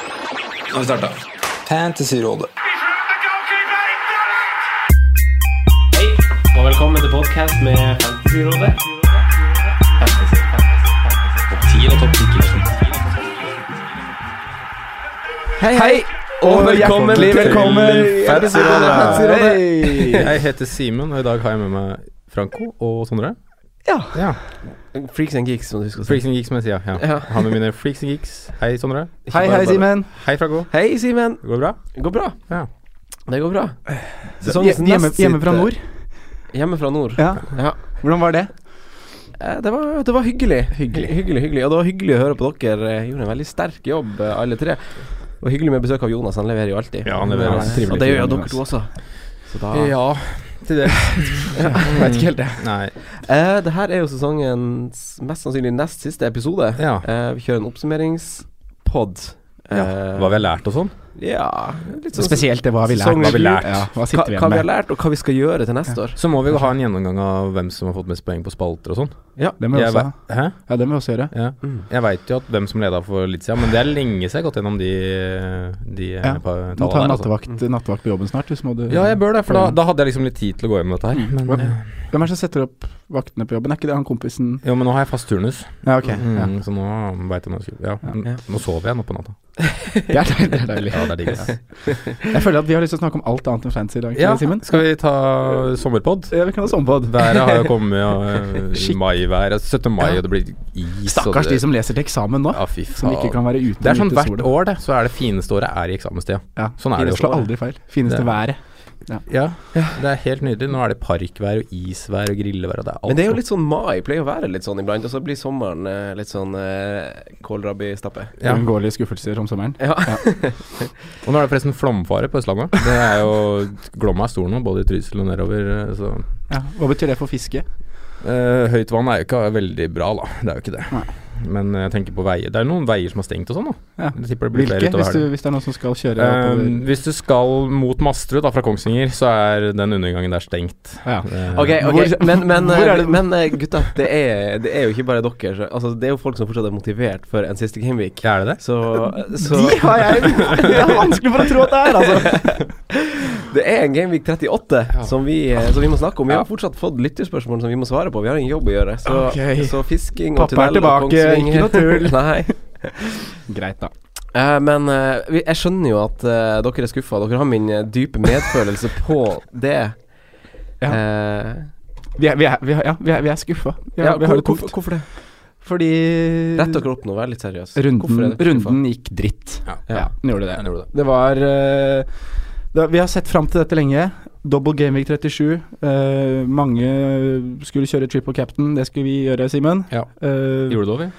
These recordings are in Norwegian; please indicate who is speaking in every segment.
Speaker 1: Nå har vi starta. Fantasyrådet.
Speaker 2: Hei, og velkommen til podcast med Fantasyrådet. Topp 10 og topp 10.
Speaker 3: Hei, og velkommen
Speaker 4: hjertelig
Speaker 3: til
Speaker 4: velkommen.
Speaker 3: Fantasyrådet. Hei.
Speaker 4: Jeg heter Simen, og i dag har jeg med meg Franco og Sondre.
Speaker 3: Ja.
Speaker 4: Ja.
Speaker 2: Freaks and geeks, som du husker å si.
Speaker 4: Freaks and geeks, som jeg sier. Ja.
Speaker 2: Ja.
Speaker 4: Jeg har med mine freaks and geeks. Hei, Sondre.
Speaker 3: Hei, hei, Simen.
Speaker 4: Hei, Franco.
Speaker 2: Hei, Simen.
Speaker 4: Det går bra?
Speaker 2: Det går bra.
Speaker 4: Ja.
Speaker 2: Det går bra. Sesongens nest
Speaker 3: Hjemme, hjemme fra
Speaker 2: siste-
Speaker 3: nord.
Speaker 2: Hjemme fra nord.
Speaker 3: Ja.
Speaker 2: Ja.
Speaker 3: Hvordan var det?
Speaker 2: Eh, Det var, det var hyggelig. hyggelig. Hyggelig, hyggelig. Og det var hyggelig å høre på dere. Eh, Gjorde en veldig sterk jobb, eh, alle tre. Og hyggelig med besøk av Jonas. Han leverer jo alltid.
Speaker 4: Ja, han leverer alltid. Trivelig
Speaker 2: Og det gjør
Speaker 4: fyr,
Speaker 2: jo dere
Speaker 4: Jonas.
Speaker 2: to også. Så da
Speaker 4: til det.
Speaker 2: Jeg vet ikke helt det.
Speaker 4: Nei.
Speaker 2: Eh, det her er jo sesongens mest sannsynlig nest siste episode.
Speaker 4: Ja.
Speaker 2: Eh, vi kjører en oppsummeringspod. Eh,
Speaker 4: Hva vi har lært og sånn.
Speaker 2: Ja, litt sånn
Speaker 3: det hva
Speaker 2: vi lærte. Hva vi lærte.
Speaker 3: Ja, hva
Speaker 2: hva,
Speaker 3: sitter
Speaker 2: hva vi
Speaker 3: vi
Speaker 2: har
Speaker 3: igjen med?
Speaker 2: lært, og hva vi skal gjøre til neste år.
Speaker 4: Så må vi jo ha en gjennomgang av hvem som har fått mest poeng på spalter og sånn.
Speaker 3: Det må vi
Speaker 4: Jeg
Speaker 3: også,
Speaker 4: ve-
Speaker 3: ha.
Speaker 4: Hæ?
Speaker 3: ja, det må vi også gjøre.
Speaker 4: Ja. Jeg veit jo at hvem som leda for litt siden, men det er lenge siden jeg har gått gjennom de, de
Speaker 3: Ja.
Speaker 4: eh, pa-
Speaker 3: Må ta
Speaker 4: tallene der. altså.
Speaker 3: nattevakt, nattevakt på jobben snart. Hvis må du
Speaker 4: Ja, jeg bør det, for da, da hadde jeg liksom litt tid til å gå gjennom dette her. Men, eh,
Speaker 3: Hvem- Hvem er det som setter opp vaktene på jobben? Er ikke det han kompisen
Speaker 4: jo, men nå har jeg fast turnus.
Speaker 3: Ja, ok. Ja.
Speaker 4: Mm, Så nå veit jeg når jeg skulle ja.
Speaker 3: Ja.
Speaker 4: n- Nå sover jeg nå på natta.
Speaker 3: Det er deilig. Det er deilig.
Speaker 4: Ja, det er digg. ass.
Speaker 3: Jeg føler at vi har lyst til å snakke om alt annet enn fancy i dag,
Speaker 4: Ja,
Speaker 3: ikke det, Simen.
Speaker 4: skal vi ta sommerpod?
Speaker 3: Ja, vi kan ha sommerpod.
Speaker 4: Været har jo kommet ja, i
Speaker 3: Shit.
Speaker 4: maiværet. 17. mai,
Speaker 3: Ja.
Speaker 4: og det blir is. og
Speaker 3: Stakkars
Speaker 4: det,
Speaker 3: de som leser til eksamen nå,
Speaker 4: ja, fy
Speaker 3: som ikke kan
Speaker 4: faen.
Speaker 3: være ute
Speaker 4: Det er sånn
Speaker 3: ute i
Speaker 4: hvert
Speaker 3: sola.
Speaker 4: år, det. Så er det fineste året er i eksamenstida.
Speaker 3: Ja.
Speaker 4: Sånn er det
Speaker 3: Ingen
Speaker 4: jo.
Speaker 3: slår aldri feil. Fineste
Speaker 4: Det-
Speaker 3: været.
Speaker 4: Ja, det er helt nydelig. Nå er det parkvær og isvær og grillevær og det er alt.
Speaker 2: Men det er jo litt sånn mai, pleier å være litt sånn iblant, og så blir sommeren eh, litt sånn eh, kålrabistappe.
Speaker 4: sånn. Ja.
Speaker 3: Uunngåelige skuffelser om sommeren.
Speaker 2: Ja.
Speaker 4: Og nå er det forresten flomfare på Østlandet. Det er jo Glomma er stor nå, både i Trysil og nedover. eh, Så
Speaker 3: Ja. Hva betyr det for fiske?
Speaker 4: Eh, høyt vann er jo ikke veldig bra, da. Det er jo ikke det.
Speaker 3: Nei.
Speaker 4: Men eh, jeg tenker på veier. Det er noen veier som er stengt og sånn, da.
Speaker 3: Ja.
Speaker 4: Jeg tipper det blir
Speaker 3: Hvilke,
Speaker 4: flere utover
Speaker 3: hvis, du,
Speaker 4: helgen.
Speaker 3: hvis det er noen som skal kjøre oppover?
Speaker 4: Eh, hvis du skal mot Masterud da, fra Kongsvinger, så er den undergangen der stengt.
Speaker 3: Ja.
Speaker 4: Eh,
Speaker 2: Ok, ok,
Speaker 3: Hvor-
Speaker 2: men, men,
Speaker 3: hvor er
Speaker 2: eh,
Speaker 3: det-
Speaker 2: men eh, gutta, det er, det er jo ikke bare dere. så- Altså, det er jo folk som fortsatt er motivert for en siste gameweek.
Speaker 4: Er det det?
Speaker 2: Så, så
Speaker 3: De har jeg Det er vanskelig for å tro at det er, altså.
Speaker 2: Det er en Gameweek 38 som, vi, eh, som vi må snakke om. Vi har fortsatt fått lytterspørsmål som vi må svare på. Vi har en jobb å gjøre. Så,
Speaker 3: Ok.
Speaker 2: så fisking og
Speaker 3: Pappa er
Speaker 2: tunnel og
Speaker 3: tilbake, ikke noe tull.
Speaker 2: Nei.
Speaker 3: Greit, da.
Speaker 2: Eh, men eh, vi, jeg skjønner jo at eh, dere er skuffa. Dere har min eh, dype medfølelse på det.
Speaker 3: Ja.
Speaker 2: Eh,
Speaker 3: Vi er, vi er, vi er, ja, vi er, vi er skuffa. Vi,
Speaker 2: ja,
Speaker 3: har- vi har
Speaker 2: hvor-
Speaker 3: det tungt.
Speaker 2: hvorfor, hvorfor det?
Speaker 3: Fordi
Speaker 2: Rett dere opp nå, vær litt seriøs. Hvorfor er
Speaker 3: runden,
Speaker 2: dere skuffa?
Speaker 3: runden gikk dritt.
Speaker 4: Ja.
Speaker 3: Ja, den gjorde
Speaker 4: Den
Speaker 3: det.
Speaker 4: gjorde det.
Speaker 3: Det var eh, det, Vi har sett fram til dette lenge. Double Gameweek 37. Eh, mange skulle kjøre triple captain. Det skulle vi gjøre, Simen.
Speaker 4: Ja.
Speaker 3: Eh,
Speaker 4: Gjorde du det,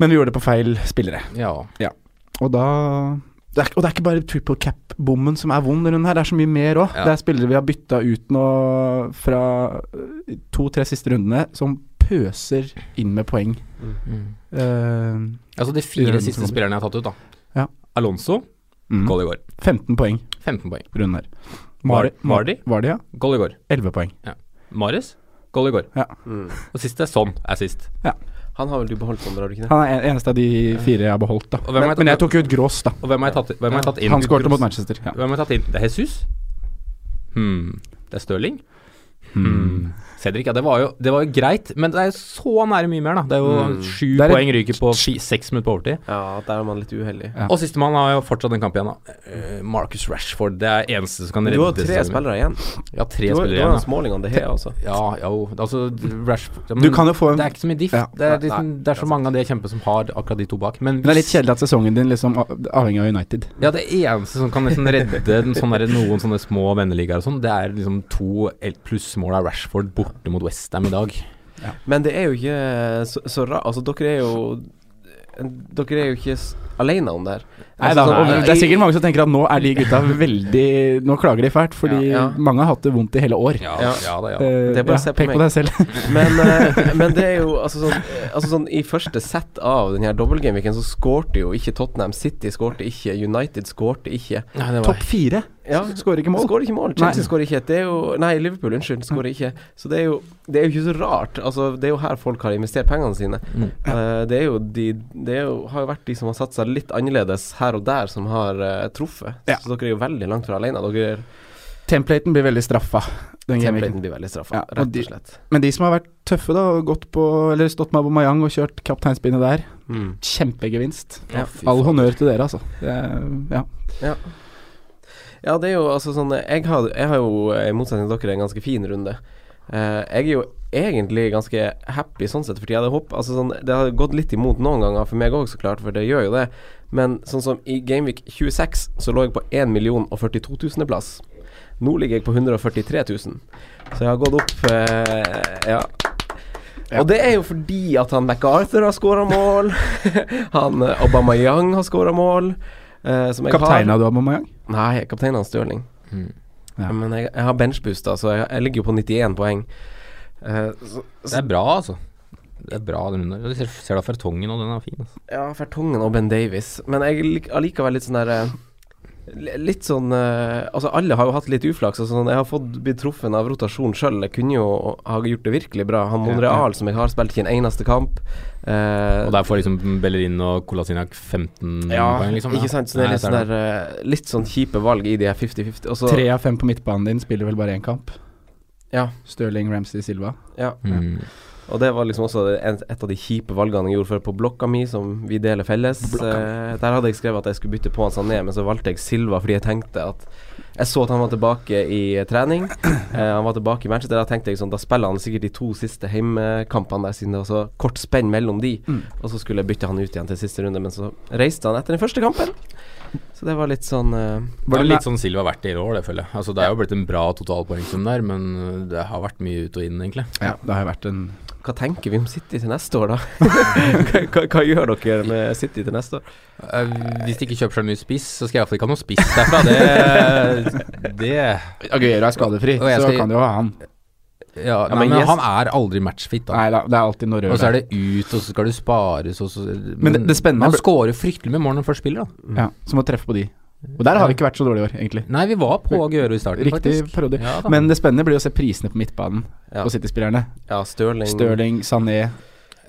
Speaker 3: men vi gjorde det på feil spillere.
Speaker 4: Ovi? Ja.
Speaker 3: Og da det er, ikke- Og det er ikke bare triple cap-bommen som er vond i runden her, det er så mye mer òg.
Speaker 4: Ja.
Speaker 3: Det er spillere vi har bytta ut nå fra eh, to-tre siste rundene, som pøser inn med poeng.
Speaker 4: Mm.
Speaker 3: Eh,
Speaker 4: Altså de
Speaker 3: I
Speaker 4: fire
Speaker 3: runden
Speaker 4: siste
Speaker 3: som kommer.
Speaker 4: spillerne jeg har tatt ut, da.
Speaker 3: Ja.
Speaker 4: Alonso,
Speaker 3: mm.
Speaker 4: goal i går.
Speaker 3: 15 poeng
Speaker 4: 15 poeng.
Speaker 3: runden her.
Speaker 4: Var- Vardy?
Speaker 3: Var det, ja.
Speaker 4: Goal i går.
Speaker 3: 11 poeng.
Speaker 4: Mares, goal i går.
Speaker 2: Mm.
Speaker 4: Og siste er sånn, er sist.
Speaker 2: Han har vel du beholdt, Sondre, har du ikke det?
Speaker 3: Han er en- eneste av de fire jeg har beholdt, da.
Speaker 4: Og hvem har
Speaker 3: Men,
Speaker 4: jeg tatt-
Speaker 3: men jeg tok jo ut Gross, da.
Speaker 4: Og hvem har jeg tatt, hvem har jeg tatt inn?
Speaker 3: Han skårte mot Manchester. Ja.
Speaker 4: Hvem har jeg tatt inn? Det er Jesus. Hmm. Det er Stirling. Mm.
Speaker 3: Hmm.
Speaker 4: Cedric, ja, det var, jo, det var jo greit, men det er jo så nære mye mer, da. Det er jo
Speaker 2: Mm.
Speaker 4: sju
Speaker 3: Det er et-
Speaker 4: poeng ryker på fi, seks minutter på overtid.
Speaker 2: Ja, der er man litt uheldig.
Speaker 3: Ja.
Speaker 4: Og sistemann har jo fortsatt en kamp igjen, da. Eh, Marcus Rashford. Det er eneste som kan
Speaker 2: Du
Speaker 4: redde
Speaker 2: har tre
Speaker 4: sesongen.
Speaker 2: spillere igjen.
Speaker 4: Ja, tre
Speaker 2: Du har, du har
Speaker 4: spillere
Speaker 2: en
Speaker 4: igjen. Da.
Speaker 2: Smalling og De Gea også.
Speaker 4: Ja, jo. Altså, Rashford ja,
Speaker 3: Du
Speaker 4: men
Speaker 3: kan jo få en
Speaker 4: Det er ikke så mye diff.
Speaker 3: Ja.
Speaker 4: Det, er
Speaker 2: Nei,
Speaker 4: liksom, det er så mange av de jeg kjemper som har akkurat de to bak. Men
Speaker 3: Men det er litt kjedelig at sesongen din liksom av- avhenger av United.
Speaker 4: Ja, det eneste som kan liksom redde den, sånn der, noen sånne små venneligaer og sånn, det er liksom to plussmål av Rashford borte mot Westham i dag.
Speaker 2: Men det er jo ikke så, så rart Altså, dere er jo Dere er jo ikke s- alene om det her.
Speaker 3: Nei,
Speaker 2: Altså,
Speaker 3: da,
Speaker 2: sånn-
Speaker 3: og det er sikkert mange som tenker at nå er de gutta veldig Nå klager de fælt, fordi
Speaker 2: Ja, ja.
Speaker 3: mange har hatt det vondt i hele år.
Speaker 2: Ja.
Speaker 4: da,
Speaker 3: Eh,
Speaker 2: Det er bare å se på
Speaker 3: pek
Speaker 2: meg.
Speaker 3: på deg selv.
Speaker 2: Men, eh, men det er jo altså sånn, eh, altså sånn I første sett av den her dobbeltgameweeken så skårte jo ikke Tottenham. City skårte ikke. United skårte ikke.
Speaker 4: Ja, det var
Speaker 3: Topp fire
Speaker 2: Ja.
Speaker 3: Skårer ikke mål.
Speaker 2: Skårer ikke mål. Chelsea skårer ikke. Det er jo Nei, Liverpool, unnskyld, skårer ikke. Så det er jo Det er jo ikke så rart. Altså, det er jo her folk har investert pengene sine.
Speaker 4: Mm.
Speaker 2: Eh, det er jo de Det er jo, har jo vært de som har satt seg litt annerledes her og der, som har eh, truffet.
Speaker 3: Ja.
Speaker 2: Så dere er jo veldig langt fra alene. Dere er
Speaker 3: Templaten blir veldig straffa. Den gameweeken.
Speaker 2: Templaten blir veldig straffa,
Speaker 3: Ja, og
Speaker 2: rett
Speaker 3: de-
Speaker 2: og slett.
Speaker 3: Men de som har vært tøffe, da, og gått på Eller stått med Aubameyang og kjørt kapteinspinnet der,
Speaker 2: Mm.
Speaker 3: kjempegevinst.
Speaker 2: Ja, fy
Speaker 3: All honnør til dere, altså. Det er, ja.
Speaker 2: Ja, det er jo altså sånn Jeg har, jeg har jo, eh, i motsetning til dere, en ganske fin runde. Eh, jeg er jo egentlig ganske happy sånn sett, fordi jeg hadde håpet altså sånn, Det har gått litt imot noen ganger for meg òg, så klart, for det gjør jo det. Men sånn som i Gameweek 26 så lå jeg på 1 042 000.-plass. Nå ligger jeg på 143 000. Så jeg har gått opp eh, ja. Og det er jo fordi at han MacArthur har skåra mål. han eh, Aubameyang har skåra mål. eh, som jeg har.
Speaker 3: Kapteina du Aubameyang?
Speaker 2: Nei, kapteinen hans Stirling.
Speaker 4: Mm.
Speaker 3: Ja.
Speaker 2: Men jeg, jeg har benchboosta, så jeg, jeg ligger jo på 91 poeng. Eh, så,
Speaker 4: Det er bra, altså. Det er bra, den runden. der. Du ser, ser da fertongen, og den er fin. Altså.
Speaker 2: ja, Fertongen og Ben Davies. Men jeg lik- allikevel litt sånn der eh, li- Litt sånn eh, Altså, alle har jo hatt litt uflaks. Og sånn, jeg har fått blitt truffet av rotasjon sjøl. Jeg kunne jo ha gjort det virkelig bra. Han Monreal, som jeg har spilt ikke en eneste kamp. eh,
Speaker 4: Og der får liksom Bellerin og Kolasinac 15 poeng, liksom.
Speaker 2: ikke sant? Så det er litt
Speaker 4: Nei,
Speaker 2: sånn
Speaker 4: det er
Speaker 2: der eh, Litt sånn kjipe valg i de her 50-50. Og så
Speaker 3: Tre av fem på midtbanen din spiller vel bare én kamp.
Speaker 2: Ja.
Speaker 3: Stirling, Ramsey, Silva.
Speaker 2: Ja.
Speaker 4: Mm.
Speaker 2: Og det var liksom også en, et av de kjipe valgene jeg gjorde før på blokka mi, som vi deler felles. Eh, der hadde jeg skrevet at jeg skulle bytte på han Sané, men så valgte jeg Silva fordi jeg tenkte at Jeg så at han var tilbake i trening. Eh, han var tilbake i Manchester. Da tenkte jeg sånn, da spiller han sikkert de to siste heimekampene der, siden det var så kort spenn mellom de.
Speaker 3: Mm.
Speaker 2: Og så skulle jeg bytte han ut igjen til siste runde, men så reiste han etter den første kampen. Så det var litt sånn eh,
Speaker 4: Det
Speaker 3: Var
Speaker 4: er
Speaker 3: det
Speaker 4: litt sånn Silva har vært i hele år, det føler jeg. Altså, det er jo blitt en bra totalpoengsum der, men øh, det har vært mye ut og inn, egentlig.
Speaker 3: Ja, det har jo vært en
Speaker 2: Hva tenker vi om City til neste år, da? hva, hva, hva gjør dere med City til neste år?
Speaker 4: Eh, hvis de ikke kjøper så mye spiss, så skal jeg iallfall ikke ha noe spiss derfra. Det, det
Speaker 3: Aguero er skadefri,
Speaker 4: Og jeg
Speaker 3: så
Speaker 4: skal-
Speaker 3: kan du jo ha han.
Speaker 4: ja, nei,
Speaker 2: men
Speaker 4: men,
Speaker 2: yes.
Speaker 4: han er aldri matchfit, da.
Speaker 3: Nei da, det er alltid noe rør
Speaker 4: Og så
Speaker 3: der.
Speaker 4: er det ut, og så skal det spares, og så
Speaker 3: Men det- det spennende er
Speaker 4: Han
Speaker 3: bl-
Speaker 4: scorer fryktelig med mål når han først spiller, da.
Speaker 3: Ja, så må treffe på de. Og der har vi ikke vært så dårlige i år, egentlig.
Speaker 4: Nei, vi var på Aguero i starten,
Speaker 3: Riktig
Speaker 4: Mm. faktisk.
Speaker 3: parodi.
Speaker 4: Ja, da.
Speaker 3: Men det spennende blir å se prisene på midtbanen
Speaker 2: Ja.
Speaker 3: på City-spillerne.
Speaker 2: Ja, Stirling,
Speaker 3: Stirling, Sané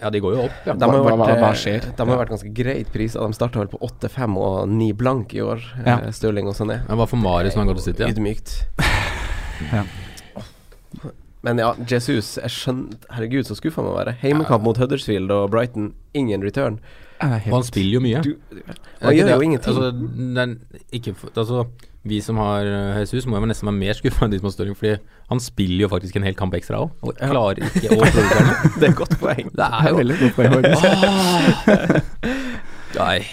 Speaker 4: ja, de går jo opp, ja.
Speaker 2: De har jo
Speaker 3: Hva-
Speaker 2: vært,
Speaker 3: hva- hva
Speaker 2: eh,
Speaker 3: skjer?
Speaker 2: De har jo vært ganske greit priser. De starta vel på 8-5 og 9 blank i år,
Speaker 3: Ja.
Speaker 2: eh, Stirling og Sané.
Speaker 4: Det var for Marius når han går til City, ja.
Speaker 2: Ydmykt.
Speaker 3: Ja.
Speaker 2: Men ja, Jesus jeg skjønte, Herregud, så skuffa man må være. Heimekamp mot Huddersfield og Brighton, ingen return.
Speaker 3: er
Speaker 4: Og han spiller jo mye.
Speaker 2: Du,
Speaker 4: Det
Speaker 2: man
Speaker 4: er ikke
Speaker 2: gjør jo
Speaker 4: det-
Speaker 2: ingenting.
Speaker 4: Altså, det er ikke, f- altså, vi som har eh, Jesus, må jo nesten være mer skuffa enn de som har Stirling, fordi han spiller jo faktisk en hel kamp ekstra òg, og klarer ikke å produsere noe.
Speaker 2: det er et godt poeng.
Speaker 4: Det er jo
Speaker 3: veldig godt poeng, faktisk.
Speaker 4: Nei.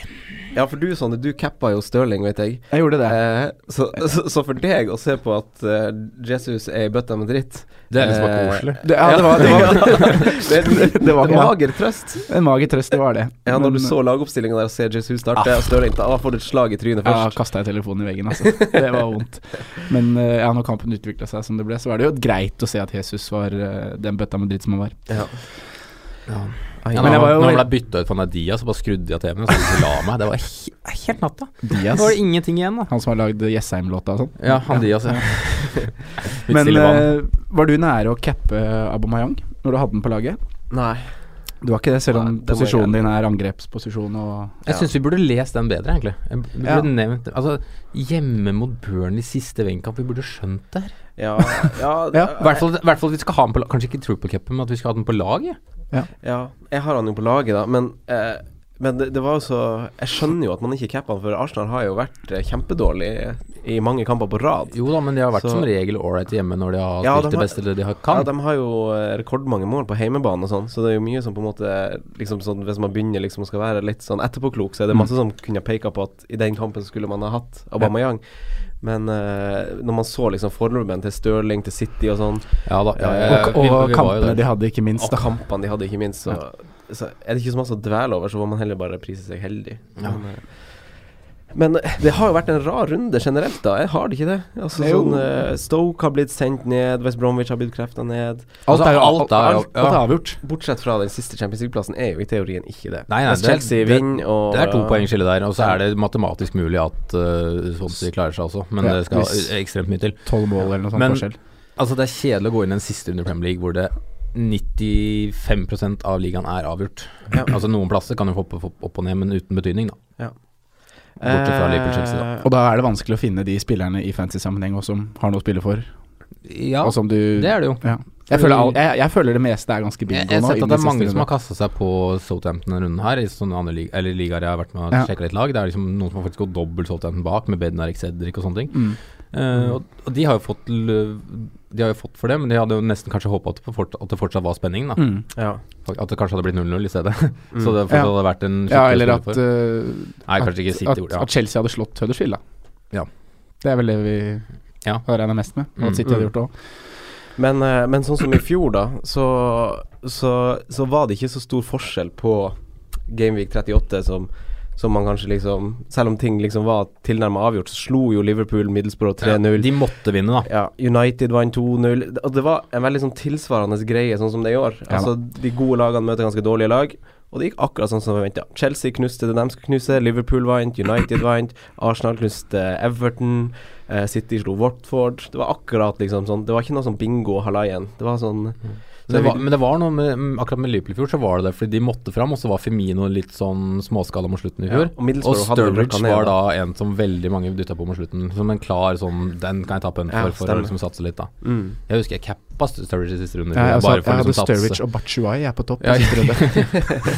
Speaker 2: Ja, for du, Sondre, du cappa jo Stirling, vet jeg.
Speaker 3: Jeg gjorde det.
Speaker 2: Eh, så, så, så for deg å se på at eh, Jesus er i bøtta med dritt
Speaker 4: Det er liksom bare
Speaker 2: eh,
Speaker 4: koselig.
Speaker 3: Det, ja, det var, det var
Speaker 2: det, det, det var
Speaker 3: Ja.
Speaker 2: mager trøst.
Speaker 3: en mager trøst, det var det.
Speaker 2: Ja, når
Speaker 3: Men- eh, Ah.
Speaker 2: du så lagoppstillinga der og ser Jesus starte og Stirling ta, da får du et slag i trynet
Speaker 3: Ja,
Speaker 2: først.
Speaker 3: kasta jeg telefonen i veggen, altså. Det var vondt. Men eh, ja, når kampen utvikla seg som det ble, så var det jo greit å se at Jesus var eh, den bøtta med dritt som han var.
Speaker 2: Ja. Ai,
Speaker 4: Ja,
Speaker 3: Men
Speaker 4: men
Speaker 3: jeg var jo
Speaker 4: når han
Speaker 3: veldig-
Speaker 4: ble bytta ut på Nadia, så bare skrudde jeg av TV-en og så ville de la meg. Det var he helt natta. Da
Speaker 3: Diaz.
Speaker 4: var det ingenting igjen, da.
Speaker 3: Han som har lagd Jessheim-låta og sånn.
Speaker 4: Ja, han Diaz, ja. Litt
Speaker 3: Men
Speaker 4: stille vann.
Speaker 3: eh, var du nære å cappe Aubameyang når du hadde den på laget?
Speaker 2: Nei.
Speaker 3: Du var ikke det, selv om
Speaker 2: Nei, det må jeg
Speaker 3: posisjonen din er angrepsposisjon og
Speaker 4: Jeg syns vi burde lest den bedre, egentlig. Jeg b- burde
Speaker 3: Ja.
Speaker 4: nevnt Altså, hjemme mot Burnley siste vennkamp, vi burde skjønt det her.
Speaker 2: Ja,
Speaker 3: Ja,
Speaker 4: I hvert fall hvert fall at vi skal ha den på lag, kanskje ikke Triple Cup, men at vi skal ha den på laget.
Speaker 2: ja. Jeg har han jo på laget, da, men eh, men det, det var jo så Jeg skjønner jo at man ikke capper han, for Arsenal har jo vært eh, kjempedårlig i mange kamper på rad.
Speaker 4: Jo da, men de har vært
Speaker 2: Så-
Speaker 4: som regel ålreit hjemme når de har
Speaker 2: Ja,
Speaker 4: spilt
Speaker 2: de
Speaker 4: det
Speaker 2: har-
Speaker 4: beste de
Speaker 2: Ja,
Speaker 4: har kan.
Speaker 2: de har jo eh, rekordmange mål på heimebane og sånn, så det er jo mye som på en måte liksom sånn, Hvis man begynner liksom å skal være litt sånn etterpåklok, så er det
Speaker 3: Mm.
Speaker 2: masse som kunne peka på at i den kampen skulle man ha hatt Aubameyang. Men eh, når man så liksom forløperen til Stirling, til City og sånn,
Speaker 4: Ja da.
Speaker 2: Ja, ja, ja.
Speaker 4: eh,
Speaker 3: Og,
Speaker 4: vi-
Speaker 3: og
Speaker 4: vi var jo
Speaker 3: kampene
Speaker 4: der.
Speaker 3: de hadde, ikke minst.
Speaker 2: og
Speaker 3: Da.
Speaker 2: kampene de hadde, ikke minst, så, så er det ikke så masse å dvele over, så får man heller bare prise seg heldig.
Speaker 4: Ja.
Speaker 2: Men, eh, Men det har jo vært en rar runde generelt, da. Jeg har det ikke det. Altså,
Speaker 3: Det er jo-
Speaker 2: sånn, eh, Stoke har blitt sendt ned, West Bromwich har blitt krefta ned.
Speaker 3: Alt
Speaker 4: Altså,
Speaker 3: er jo
Speaker 4: alt er-
Speaker 3: alt, alt er
Speaker 4: ja.
Speaker 3: avgjort.
Speaker 2: Bortsett fra den siste Champions League-plassen er jo i teorien ikke det.
Speaker 4: Nei, nei,
Speaker 2: Hvis
Speaker 4: det-
Speaker 2: Chelsea
Speaker 4: det-
Speaker 2: vinner og
Speaker 4: Det er to poengskille der, og så er det matematisk mulig at uh, Swansea klarer seg også, men
Speaker 3: Ja,
Speaker 4: det skal
Speaker 3: hvis-
Speaker 4: ekstremt mye til.
Speaker 3: Tolv mål eller noe sånt
Speaker 4: Men-
Speaker 3: forskjell.
Speaker 4: Altså, det er kjedelig å gå inn i en siste under Premier League hvor det 95 av ligaen er avgjort.
Speaker 2: Ja.
Speaker 4: Altså Noen plasser kan jo hoppe opp, opp og ned, men uten betydning, da. bortsett fra Liverpool-Chelsea, da.
Speaker 2: Eh,
Speaker 3: Og da er det vanskelig å finne de spillerne i fantasy-sammenheng også som har noe å spille for.
Speaker 4: Ja,
Speaker 3: Og som du
Speaker 4: det er det jo.
Speaker 3: ja. jeg, føler all, jeg, jeg føler det meste er ganske bingo
Speaker 4: Jeg,
Speaker 3: nå.
Speaker 4: jeg har sett
Speaker 3: innen
Speaker 4: at det er
Speaker 3: siste
Speaker 4: mange som
Speaker 3: runde.
Speaker 4: har kasta seg på Southampton denne runden her, i sånne andre lig eller ligaer jeg har vært med og
Speaker 3: Ja.
Speaker 4: sjekket litt lag. Det er liksom noen som har faktisk gått dobbelt Southampton bak, med Bednarik Cedric og sånne ting.
Speaker 3: Mm.
Speaker 4: Eh, og, og de har jo fått l- De har jo fått for det, men de hadde jo nesten kanskje håpa at, det fort- at det fortsatt var spenning, da.
Speaker 3: Mm.
Speaker 2: Ja.
Speaker 4: At det kanskje hadde blitt 0-0 i stedet.
Speaker 2: Mm.
Speaker 4: Så det
Speaker 3: Ja.
Speaker 4: fortsatt hadde vært en
Speaker 3: Ja,
Speaker 4: skikkelig
Speaker 3: eller
Speaker 4: spiller
Speaker 3: at,
Speaker 4: for.
Speaker 3: eh,
Speaker 4: Nei, kanskje ikke
Speaker 3: at,
Speaker 4: City
Speaker 3: at,
Speaker 4: gjorde det.
Speaker 3: at Chelsea hadde slått Huddersfield, da.
Speaker 4: Ja.
Speaker 3: Det er vel det vi
Speaker 4: Ja.
Speaker 3: har regna mest med, og
Speaker 4: Mm.
Speaker 3: at City hadde
Speaker 2: Mm.
Speaker 3: gjort det òg.
Speaker 2: Men, eh, men sånn som i fjor, da, så, så, så var det ikke så stor forskjell på Gameweek 38 som som man kanskje liksom Selv om ting liksom var tilnærma avgjort, så slo jo Liverpool Middlesbrough 3-0.
Speaker 4: Ja, de måtte vinne, da.
Speaker 2: Ja, United vant 2-0. Og det var en veldig sånn tilsvarende greie, sånn som det er i år.
Speaker 3: Ja
Speaker 2: Altså, de gode lagene møter ganske dårlige lag, og det gikk akkurat sånn som vi venta. Chelsea knuste det de skulle knuse, Liverpool vant, United vant, Arsenal knuste Everton, eh, City slo Watford. Det var akkurat liksom sånn. Det var ikke noe sånn bingo og halaien. Det var sånn
Speaker 4: Så det var, men det var noe med mm, akkurat med Liverpool i fjor, så var det det. Fordi de måtte fram, og så var Femino litt sånn småskala mot slutten i
Speaker 2: Ja,
Speaker 4: fjor.
Speaker 2: og Middlesbrough
Speaker 4: og
Speaker 2: hadde vel røkka
Speaker 4: Sturridge
Speaker 2: ned,
Speaker 4: var da
Speaker 2: da.
Speaker 4: en som veldig mange dytta på mot slutten. Som en klar sånn Den kan jeg ta punt
Speaker 2: Ja,
Speaker 4: for, for å
Speaker 2: stemmer.
Speaker 4: liksom satse litt, da.
Speaker 2: mm.
Speaker 4: Jeg husker jeg cappa Sturridge i siste runde. i
Speaker 3: Ja,
Speaker 4: fjor,
Speaker 3: jeg, altså,
Speaker 4: bare
Speaker 3: jeg
Speaker 4: for å
Speaker 3: hadde
Speaker 4: liksom
Speaker 3: Sturridge
Speaker 4: satse.
Speaker 3: og Batshuayi er på topp.
Speaker 4: Ja,
Speaker 3: i siste runde.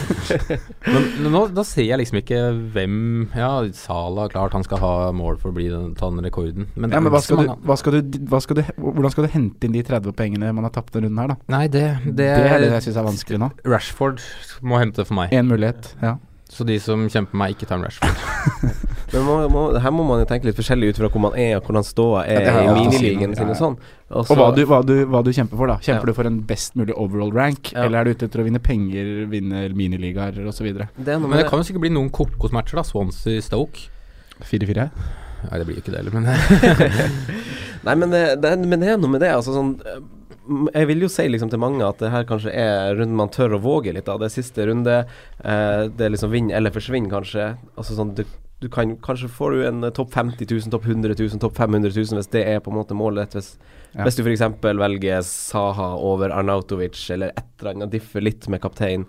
Speaker 4: Men, men nå da ser jeg liksom ikke hvem Ja, Salah, klart han skal ha mål for å bli den, ta den rekorden. Men, det
Speaker 3: Ja,
Speaker 4: er
Speaker 3: men hva
Speaker 4: ikke så
Speaker 3: skal, du,
Speaker 4: mange an-
Speaker 3: hva skal du, hva skal du, hvordan skal du hente inn de 30 poengene man har tapt denne runden her, da?
Speaker 4: Nei, det, det,
Speaker 3: Det er det jeg syns er vanskelig nå.
Speaker 4: Rashford må hente for meg.
Speaker 3: Én mulighet, ja.
Speaker 4: Så de som kjemper meg, ikke tar en Rashford.
Speaker 2: Men må, må, her må man jo tenke litt forskjellig ut fra hvor man er, og hvordan ståa er
Speaker 3: Ja, det har
Speaker 2: i
Speaker 3: jeg alltid
Speaker 2: miniligaen
Speaker 3: siden,
Speaker 2: sin
Speaker 3: ja,
Speaker 2: og sånn. Og
Speaker 3: Og
Speaker 2: så-
Speaker 3: hva du, hva, du, hva du kjemper for, da.
Speaker 2: Ja.
Speaker 3: Kjemper du for en best mulig overall rank,
Speaker 2: Ja.
Speaker 3: eller er du ute etter å vinne penger, vinne miniligaer osv.?
Speaker 2: det er noe
Speaker 4: Men
Speaker 2: med
Speaker 4: det kan jo sikkert bli noen kokosmatcher, da. Swansea-Stoke.
Speaker 3: 4-4?
Speaker 4: Nei, det blir jo ikke det heller, men
Speaker 2: Nei, men det, det, er- men det er noe med det. Altså, sånn, eh, m- jeg vil jo si liksom til mange at det her kanskje er runden man tør å våge litt av. Det er siste runde. Eh, det er liksom vinn eller forsvinn, kanskje. Altså sånn du, du kan, Kanskje får du en eh, topp 50 000, topp 100 000, topp 500 000 hvis det er på en måte målet ditt. Hvis,
Speaker 3: Ja.
Speaker 2: hvis du f.eks. velger Saha over Arnautovic eller et eller annet, differ litt med kaptein.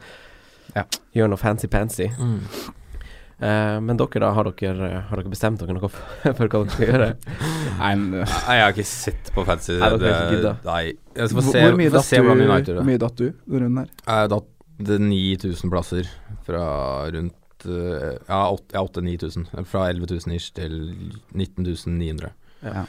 Speaker 3: Ja.
Speaker 2: Gjør noe fancy-pansy.
Speaker 4: mm.
Speaker 2: Eh, men dere, da, har dere, har dere bestemt dere noe for, for hva dere skal gjøre?
Speaker 3: Nei, men, øh,
Speaker 4: Nei, jeg har ikke sett på fancy.
Speaker 2: Nei, det er ikke gidda.
Speaker 4: nei. Jeg
Speaker 3: hvor,
Speaker 4: får se,
Speaker 3: hvor mye
Speaker 4: får
Speaker 3: datt
Speaker 4: se
Speaker 3: du,
Speaker 4: hvordan United gjør
Speaker 3: hvor
Speaker 4: det.
Speaker 3: mye datt du denne runden her?
Speaker 4: Jeg har datt det er 9000 plasser fra rundt eh, Ja, åt- ja, 8000-9000. Fra 11000 ish til 19900.
Speaker 3: Ja.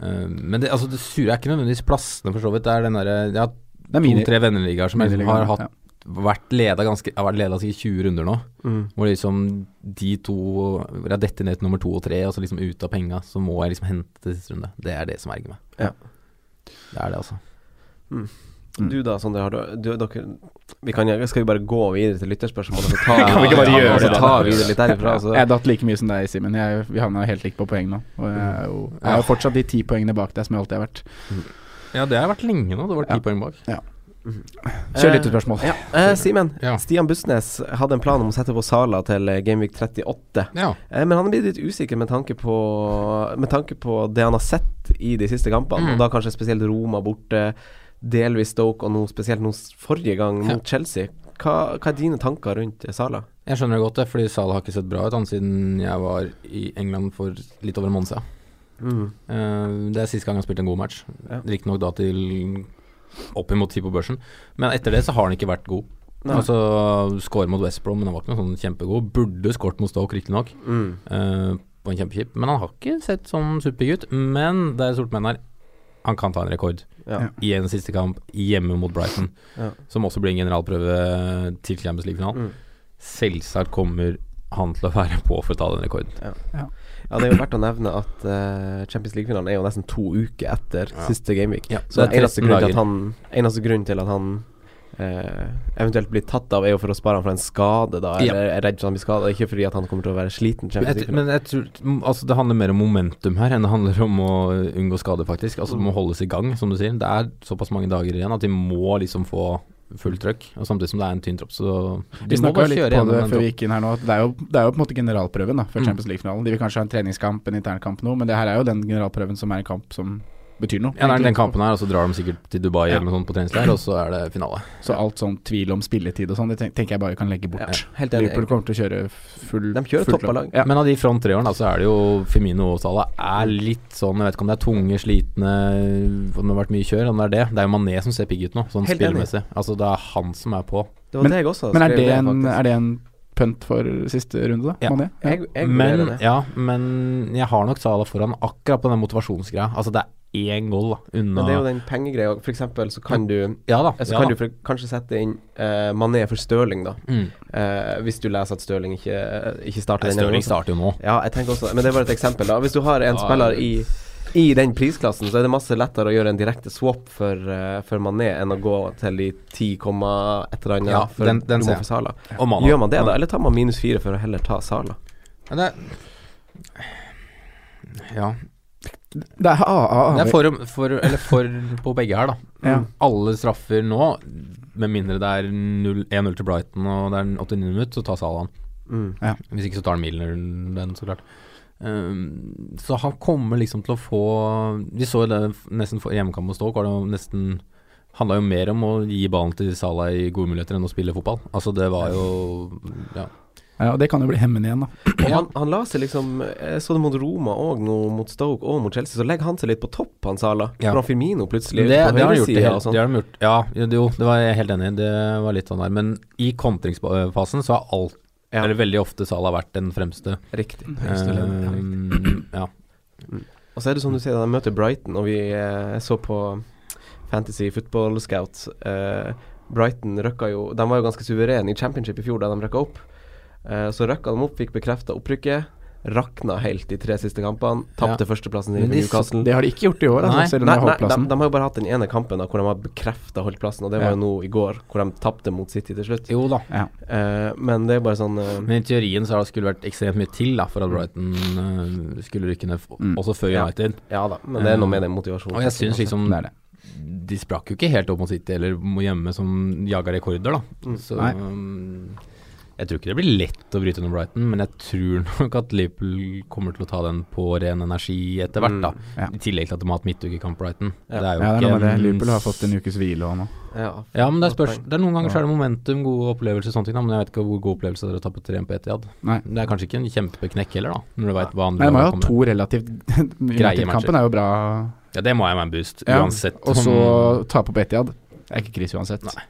Speaker 4: Eh, men det, altså, det sure er ikke nødvendigvis plassene, for så vidt. Det er den derre Jeg har
Speaker 3: Det er mini,
Speaker 4: to-tre venneligaer som jeg liksom har
Speaker 3: miniligaer,
Speaker 4: hatt, vært leda ganske Jeg har vært leda i 20 runder nå.
Speaker 2: Mm.
Speaker 4: Hvor liksom de to hvor Jeg detter ned til nummer to og tre, og så liksom ut av penga, så må jeg liksom hente til siste runde. Det er det som erger meg.
Speaker 2: Ja.
Speaker 4: Det er det, altså.
Speaker 3: Mm.
Speaker 2: Du da, Sondre, har du, du dere, vi kan, Skal vi bare gå videre til lytterspørsmålet? Så ta,
Speaker 4: Kan vi ikke bare
Speaker 2: ja, altså,
Speaker 4: gjøre
Speaker 2: og så
Speaker 4: det,
Speaker 2: ta
Speaker 4: da?
Speaker 2: videre litt derifra.
Speaker 3: Ja.
Speaker 2: Altså.
Speaker 3: Jeg datt like mye som deg, Simen. Jeg- Vi havna helt likt på poeng nå. Og jeg er jo, jeg er jo fortsatt de ti poengene bak deg som jeg alltid har vært.
Speaker 4: Ja, det har vært lenge nå. Det var ti
Speaker 3: Ja.
Speaker 4: poeng bak.
Speaker 3: Kjør lyttespørsmål.
Speaker 2: Ja. Eh, Simen,
Speaker 4: Ja.
Speaker 2: Stian Bussnes hadde en plan om å sette på Sala til eh, Gameweek 38.
Speaker 4: Ja.
Speaker 2: Eh, men han er blitt litt usikker med tanke på, med tanke på det han har sett i de siste kampene,
Speaker 4: Mm.
Speaker 2: og da kanskje spesielt Roma borte, delvis Stoke, og nå spesielt nå s- forrige gang
Speaker 4: Ja.
Speaker 2: mot Chelsea. Hva, hva er dine tanker rundt eh, Sala?
Speaker 4: Jeg skjønner det godt, det, fordi Salah har ikke sett bra ut han siden jeg var i England for litt over en måned siden.
Speaker 2: Mm.
Speaker 4: Eh, det er siste gang han spilte en god match.
Speaker 2: Ja.
Speaker 4: Riktignok da til oppimot ti på børsen, men etter det så har han ikke vært god.
Speaker 2: Nei.
Speaker 4: Altså, Skåre mot West Brom, men han var ikke noe sånn kjempegod. Burde skåret mot Stoke, riktignok.
Speaker 2: Mm.
Speaker 4: Eh, på en kjempekjip. Men han har ikke sett sånn supergutt. Men det er stort menn her. Han kan ta en rekord
Speaker 2: Ja.
Speaker 3: Ja.
Speaker 4: i en siste kamp hjemme mot Brighton,
Speaker 2: Ja.
Speaker 4: som også blir en generalprøve til Champions League-finalen.
Speaker 2: Mm.
Speaker 4: Selvsagt kommer han til å være på for å ta den rekorden.
Speaker 2: Ja, Det er jo verdt å nevne at eh, Champions League-finalen er jo nesten to uker etter
Speaker 4: Ja.
Speaker 2: siste gameweek.
Speaker 4: Ja,
Speaker 2: Så det er eneste
Speaker 4: tretten
Speaker 2: grunn, til
Speaker 4: dager.
Speaker 2: at han, eneste grunn til at han eh, eventuelt blir tatt av, er jo for å spare han for en skade, da.
Speaker 4: Ja.
Speaker 2: Eller er redd for at han blir skada. Ikke fordi at han kommer til å være sliten. Champions
Speaker 4: Jeg,
Speaker 2: League.
Speaker 4: men jeg tror m- altså, det handler mer om momentum her enn det handler om å unngå skade, faktisk. Altså Det må holdes i gang, som du sier. Det er såpass mange dager igjen at de må liksom få fullt trøkk. Og Samtidig som det er en tynn tropp, så
Speaker 3: Vi
Speaker 4: de må
Speaker 3: snakka
Speaker 4: bare
Speaker 3: litt på
Speaker 4: kjøre
Speaker 3: det
Speaker 4: gjennom
Speaker 3: før vi
Speaker 4: den troppen.
Speaker 3: gikk inn her nå. at Det er jo, det er jo på en måte generalprøven da før
Speaker 4: Mm.
Speaker 3: Champions League-finalen. De vil kanskje ha en treningskamp, en internkamp nå, men det her er jo den generalprøven som er en kamp som betyr noe.
Speaker 4: Ja, det er
Speaker 3: egentlig.
Speaker 4: den kampen her, og så drar de sikkert til Dubai
Speaker 3: Ja.
Speaker 4: eller noe sånt på treningsleir, og så er det finale.
Speaker 3: Så alt sånn tvil om spilletid og sånn, det tenk- tenker jeg bare vi kan legge bort.
Speaker 2: Ja, helt enig.
Speaker 3: Liverpool kommer til å kjøre full
Speaker 2: De kjører
Speaker 3: fullt
Speaker 2: toppa lag.
Speaker 3: Ja.
Speaker 4: Men av de front tre årene, da, så er det jo Femino og Salah er litt sånn Jeg vet ikke om det er tunge, slitne Om det har vært mye kjør, om det er det. Det er jo Mané som ser pigg ut nå, sånn
Speaker 2: Helt enig.
Speaker 4: spillemessig. Altså, det er han som er på.
Speaker 2: Det var det jeg også
Speaker 3: Men er
Speaker 2: skrev
Speaker 3: det, en,
Speaker 2: faktisk.
Speaker 3: er det en pønt for siste runde, da?
Speaker 4: Ja.
Speaker 3: Mané? Ja.
Speaker 2: Jeg, jeg
Speaker 4: men,
Speaker 2: vurderer det.
Speaker 4: ja, men jeg har nok Salah foran akkurat på den motivasjonsgreia. Altså, det er én goal da, unna
Speaker 2: Men det er jo den pengegreia. For eksempel så kan du, altså,
Speaker 4: Ja da.
Speaker 2: så
Speaker 4: ja,
Speaker 2: kan
Speaker 4: da.
Speaker 2: du for, kanskje sette inn eh, Mané for Stirling, da.
Speaker 4: Mm.
Speaker 2: Eh, hvis du leser at Stirling ikke, eh, ikke starter
Speaker 4: Nei,
Speaker 2: denne
Speaker 4: Stirling
Speaker 2: runden.
Speaker 4: starter jo nå.
Speaker 2: Ja, jeg tenker også det. Men det er bare et eksempel. da Hvis du har en
Speaker 4: Ja,
Speaker 2: spiller i, i den prisklassen, så er det masse lettere å gjøre en direkte swap for, eh, for Mané enn å gå til de 10, komma et eller annet
Speaker 4: Ja,
Speaker 2: for,
Speaker 4: den- den
Speaker 2: du må
Speaker 4: ser
Speaker 2: for Sala.
Speaker 4: Og Mané.
Speaker 2: Gjør man det, da? Eller tar man minus 4 for å heller ta Sala?
Speaker 4: Ja, det er, ja.
Speaker 3: Det er AAA.
Speaker 4: Det er for, for, eller for på begge her, da.
Speaker 3: Ah, Ja.
Speaker 4: Alle straffer nå, med mindre det er 0 1-0 til Brighton og det er en 89 minutt, så tar Salah han.
Speaker 2: Mm.
Speaker 4: Hvis ikke så tar han Milner den, så klart. Ehm, så han kommer liksom til å få Vi så jo det nesten for hjemmekamp mot Stoke, var det jo nesten Handla jo mer om å gi ballen til Salah i gode muligheter enn å spille fotball. Altså, det var jo Ja.
Speaker 3: Ja, og det kan jo bli hemmende igjen, da.
Speaker 2: Og han, han la seg liksom Jeg så det mot Roma og nå mot Stoke og mot Chelsea, så legger han seg litt på topp, han Sala.
Speaker 4: Ja.
Speaker 2: Fra Firmino plutselig
Speaker 4: Men det,
Speaker 2: på
Speaker 4: det har de gjort. i
Speaker 2: høyresida
Speaker 4: hele-
Speaker 2: og
Speaker 4: det
Speaker 2: sånn.
Speaker 4: har de gjort. Ja, jo, det- jo, det var jeg helt enig i. Det var litt sånn der. Men i kontringsfasen så har alt,
Speaker 2: Ja.
Speaker 4: eller veldig ofte, Salah vært den fremste.
Speaker 2: Riktig.
Speaker 4: Ehm, ja.
Speaker 2: Og så er det som du sier, de møter Brighton, og vi eh, så på Fantasy Football Scout. Eh, Brighton røkka jo De var jo ganske suverene i championship i fjor da de røkka opp. Eh, så røkka de opp, fikk bekrefta opprykket. Rakna helt de tre siste kampene. Tapte førsteplassen sin
Speaker 4: Men
Speaker 2: for
Speaker 4: de-
Speaker 2: Newcastle.
Speaker 3: Det har de ikke gjort i år, altså,
Speaker 4: Nei.
Speaker 3: selv om
Speaker 2: Nei,
Speaker 3: de har
Speaker 2: nei
Speaker 3: holdt
Speaker 2: de,
Speaker 3: plassen.
Speaker 2: de har jo bare hatt den ene kampen da, hvor de har bekrefta holdplassen, og det var
Speaker 3: Ja.
Speaker 2: jo nå i går, hvor de tapte mot City til slutt.
Speaker 4: Jo da.
Speaker 2: Eh, men det er bare sånn eh,
Speaker 4: Men i teorien så har det skulle vært ekstremt mye til da, for at Brighton eh, skulle rykke ned, f-
Speaker 3: Mm.
Speaker 4: også før
Speaker 2: Ja.
Speaker 4: United.
Speaker 2: Ja da, men det er noe med den motivasjonen.
Speaker 4: Og jeg syns liksom
Speaker 3: Det er det.
Speaker 4: De sprakk jo ikke helt opp mot City eller mot hjemme som jaga rekorder, da.
Speaker 2: Mm.
Speaker 4: Så
Speaker 3: Nei.
Speaker 4: um, jeg tror ikke det blir lett å bryte under Brighton, men jeg tror nok at Liverpool kommer til å ta den på ren energi etter hvert, da.
Speaker 2: Mm.
Speaker 3: Ja.
Speaker 4: I tillegg til at de har hatt midtukekamp Brighton.
Speaker 2: Ja.
Speaker 4: Det er jo
Speaker 3: Mm. Ja, det er
Speaker 4: ikke
Speaker 3: noe med det.
Speaker 4: en-
Speaker 3: Liverpool har fått en ukes hvile og nå.
Speaker 2: ja,
Speaker 4: ja, men det er,
Speaker 2: Godt
Speaker 4: spørs,
Speaker 2: poeng.
Speaker 4: det er Noen ganger så
Speaker 3: Ja.
Speaker 4: er det momentum, gode opplevelser, sånne ting. Da, men jeg vet ikke hvor god opplevelse det er å tape 3-1 på Etihad.
Speaker 3: Nei.
Speaker 4: Det er kanskje ikke en kjempeknekk heller, da. Når du vet hva andre
Speaker 3: Nei, de har jo
Speaker 4: lag
Speaker 3: hatt
Speaker 4: kommer med.
Speaker 3: to relativt
Speaker 4: Greie
Speaker 3: United-kampen er jo bra,
Speaker 4: Ja, det må jeg være en boost,
Speaker 3: Ja,
Speaker 4: uansett.
Speaker 3: og så
Speaker 4: om-
Speaker 3: tape på Etiad. Det er ikke krise uansett.
Speaker 4: Nei.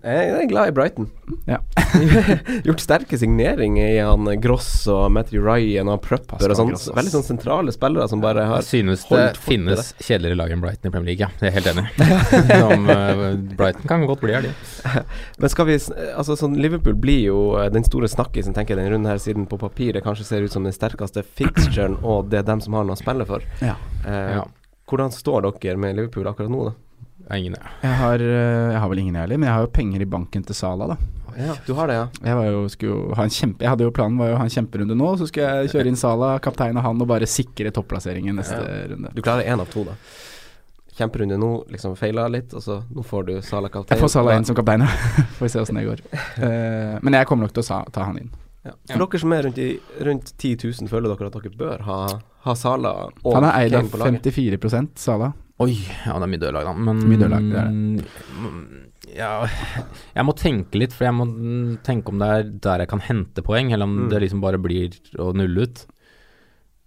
Speaker 2: Jeg jeg er glad i Brighton.
Speaker 3: Ja.
Speaker 2: Gjort sterke signeringer i han Gross og Matthew Ryan og Prupper
Speaker 3: Pascal
Speaker 2: og sånn.
Speaker 3: Gross, ass.
Speaker 2: Veldig sånn sentrale spillere som bare
Speaker 4: Jeg
Speaker 2: har
Speaker 4: synes det
Speaker 2: holdt fort med
Speaker 4: finnes kjedeligere lag enn Brighton i Premier League, ja. Jeg er helt enig. Som, eh, Brighton kan godt bli her, de.
Speaker 2: Men skal vi s- Altså, sånn Liverpool blir jo eh, den store snakkisen, tenker jeg, den runden her, siden på papiret kanskje ser ut som den sterkeste fixturen, og det er dem som har noe å spille for.
Speaker 3: Ja.
Speaker 2: Eh,
Speaker 4: Ja.
Speaker 2: Hvordan står dere med Liverpool akkurat nå, da?
Speaker 4: Jeg er Ingen, ja.
Speaker 3: Jeg har, eh, jeg har vel ingen jeg heller, men jeg har jo penger i banken til Sala, da.
Speaker 2: du har det, ja?
Speaker 3: Jeg, var jo, skulle jo ha en kjempe, jeg hadde jo planen var jo å ha en kjemperunde nå, så skulle jeg kjøre inn Sala, kaptein og han, og bare sikre topplasseringen neste runde.
Speaker 2: Du klarer én av to, da. Kjemperunde nå, liksom feila litt, og så nå får du Salah kaptein.
Speaker 3: Jeg får Sala inn som kaptein, ja. Får vi se åssen det går. Eh, men jeg kommer nok til å sa, ta han inn.
Speaker 2: Ja. For dere som er rundt, i, rundt 10 000, føler dere at dere bør ha, ha Sala og
Speaker 3: Han er eid
Speaker 2: Kane
Speaker 3: av
Speaker 2: på laget?
Speaker 3: 54 Sala.
Speaker 4: Oi, ja det er mye dødlag da, men
Speaker 3: Mye dødlag, det er
Speaker 4: Mm, Ja, jeg må tenke litt, for jeg må mm, tenke om det er der jeg kan hente poeng, eller om
Speaker 2: Mm.
Speaker 4: det liksom bare blir å nulle ut.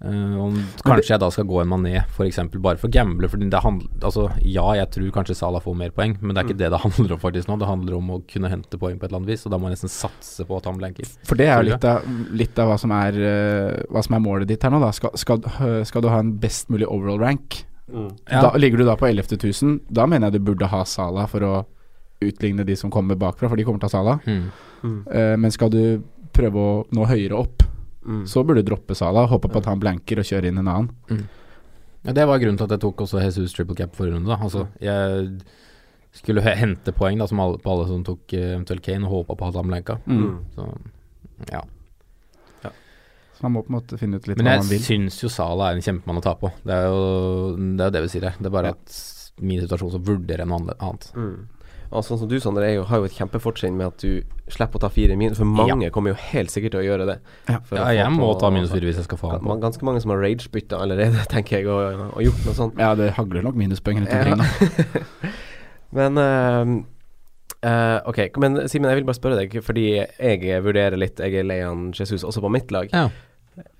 Speaker 4: Eh, om kanskje jeg da skal gå en mané, f.eks., bare for å gamble. Fordi det handler Altså, ja, jeg tror kanskje Salah får mer poeng, men det er ikke det det handler om faktisk nå. Det handler om å kunne hente poeng på et eller annet vis, og da må jeg nesten satse på at han blanker.
Speaker 3: For det er jo
Speaker 4: Tror
Speaker 3: litt av, litt av hva, som er, eh, hva som er målet ditt her nå, da. Skal, skal, eh, skal du ha en best mulig overall rank,
Speaker 2: Mm.
Speaker 4: Ja.
Speaker 3: da, ligger du da på 11 000, da mener jeg du burde ha Sala for å utligne de som kommer bakfra, for de kommer til å ha Sala.
Speaker 4: Mm.
Speaker 2: Mm.
Speaker 3: Eh, men skal du prøve å nå høyere opp,
Speaker 2: Mm.
Speaker 3: så burde du droppe Sala, håpe på at han blanker og kjøre inn en annen.
Speaker 2: Mm.
Speaker 4: Ja, Det var grunnen til at jeg tok også Jesus triple cap forrige runde. Da. Altså, jeg skulle he- hente poeng da, som alle, på alle som tok eh, eventuelt Kane, og håpa på at han blenka.
Speaker 2: Mm.
Speaker 4: Så, ja.
Speaker 3: Så man må på en måte finne ut litt
Speaker 4: Men
Speaker 3: hva man
Speaker 4: jeg
Speaker 3: vil.
Speaker 4: syns jo Sala er en kjempemann å ta på. Det er jo det, er jo det vi sier her. Det er bare at min situasjon så vurderer jeg noe annet- annet.
Speaker 2: Mm. Og sånn som du, Sander, er jo, har jo et kjempefortrinn med at du slipper å ta fire minus, for mange kommer jo helt sikkert til å gjøre det.
Speaker 3: Ja.
Speaker 2: For
Speaker 4: Ja,
Speaker 2: å få
Speaker 4: jeg må
Speaker 2: på- altså,
Speaker 4: ta minus fire hvis jeg skal få han på.
Speaker 2: Ga- Ganske mange som har ragebytta allerede, tenker jeg, og, og gjort noe sånt.
Speaker 3: Ja, det hagler nok minuspoeng rundt omkring, da.
Speaker 2: Men eh, eh, Ok, men Simen, jeg vil bare spørre deg, fordi jeg vurderer litt Jeg er lei av Jesus også på mitt lag.
Speaker 4: Ja.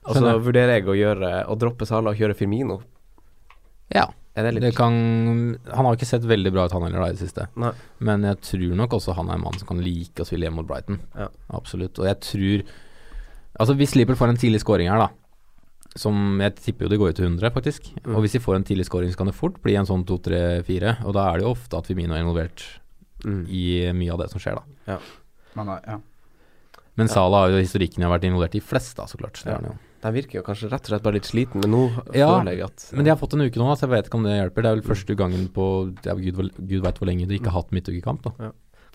Speaker 2: Og så
Speaker 4: skjønner.
Speaker 2: vurderer jeg å gjøre Å droppe Sala og kjøre Firmino.
Speaker 4: ja.
Speaker 2: Er det litt
Speaker 4: Det kan Han har ikke sett veldig bra ut, han heller, da, i det siste.
Speaker 2: Nei.
Speaker 4: Men jeg tror nok også han er en mann som kan like å spille hjemme mot Brighton.
Speaker 2: Ja.
Speaker 4: Absolutt. Og jeg tror Altså, hvis Liverpool får en tidlig scoring her, da, som jeg tipper jo det går ut til 100, faktisk
Speaker 2: Mm.
Speaker 4: Og hvis de får en tidlig scoring, så kan det fort bli en sånn 2-3-4, og da er det jo ofte at Firmino er involvert
Speaker 2: Mm.
Speaker 4: i mye av det som skjer, da.
Speaker 3: Man er, ja.
Speaker 4: Men
Speaker 2: Ja.
Speaker 4: Salah har jo historikken jeg har vært involvert i flest, da, så klart. Det
Speaker 2: Ja.
Speaker 4: er han jo.
Speaker 2: De virker jo kanskje rett og slett bare litt sliten, men nå
Speaker 4: Ja,
Speaker 2: føler jeg at
Speaker 4: Men de har fått en uke nå, da, så jeg vet ikke om det hjelper. Det er vel første gangen på ja, gud, hvor- gud veit hvor lenge de ikke har hatt midtukekamp. da.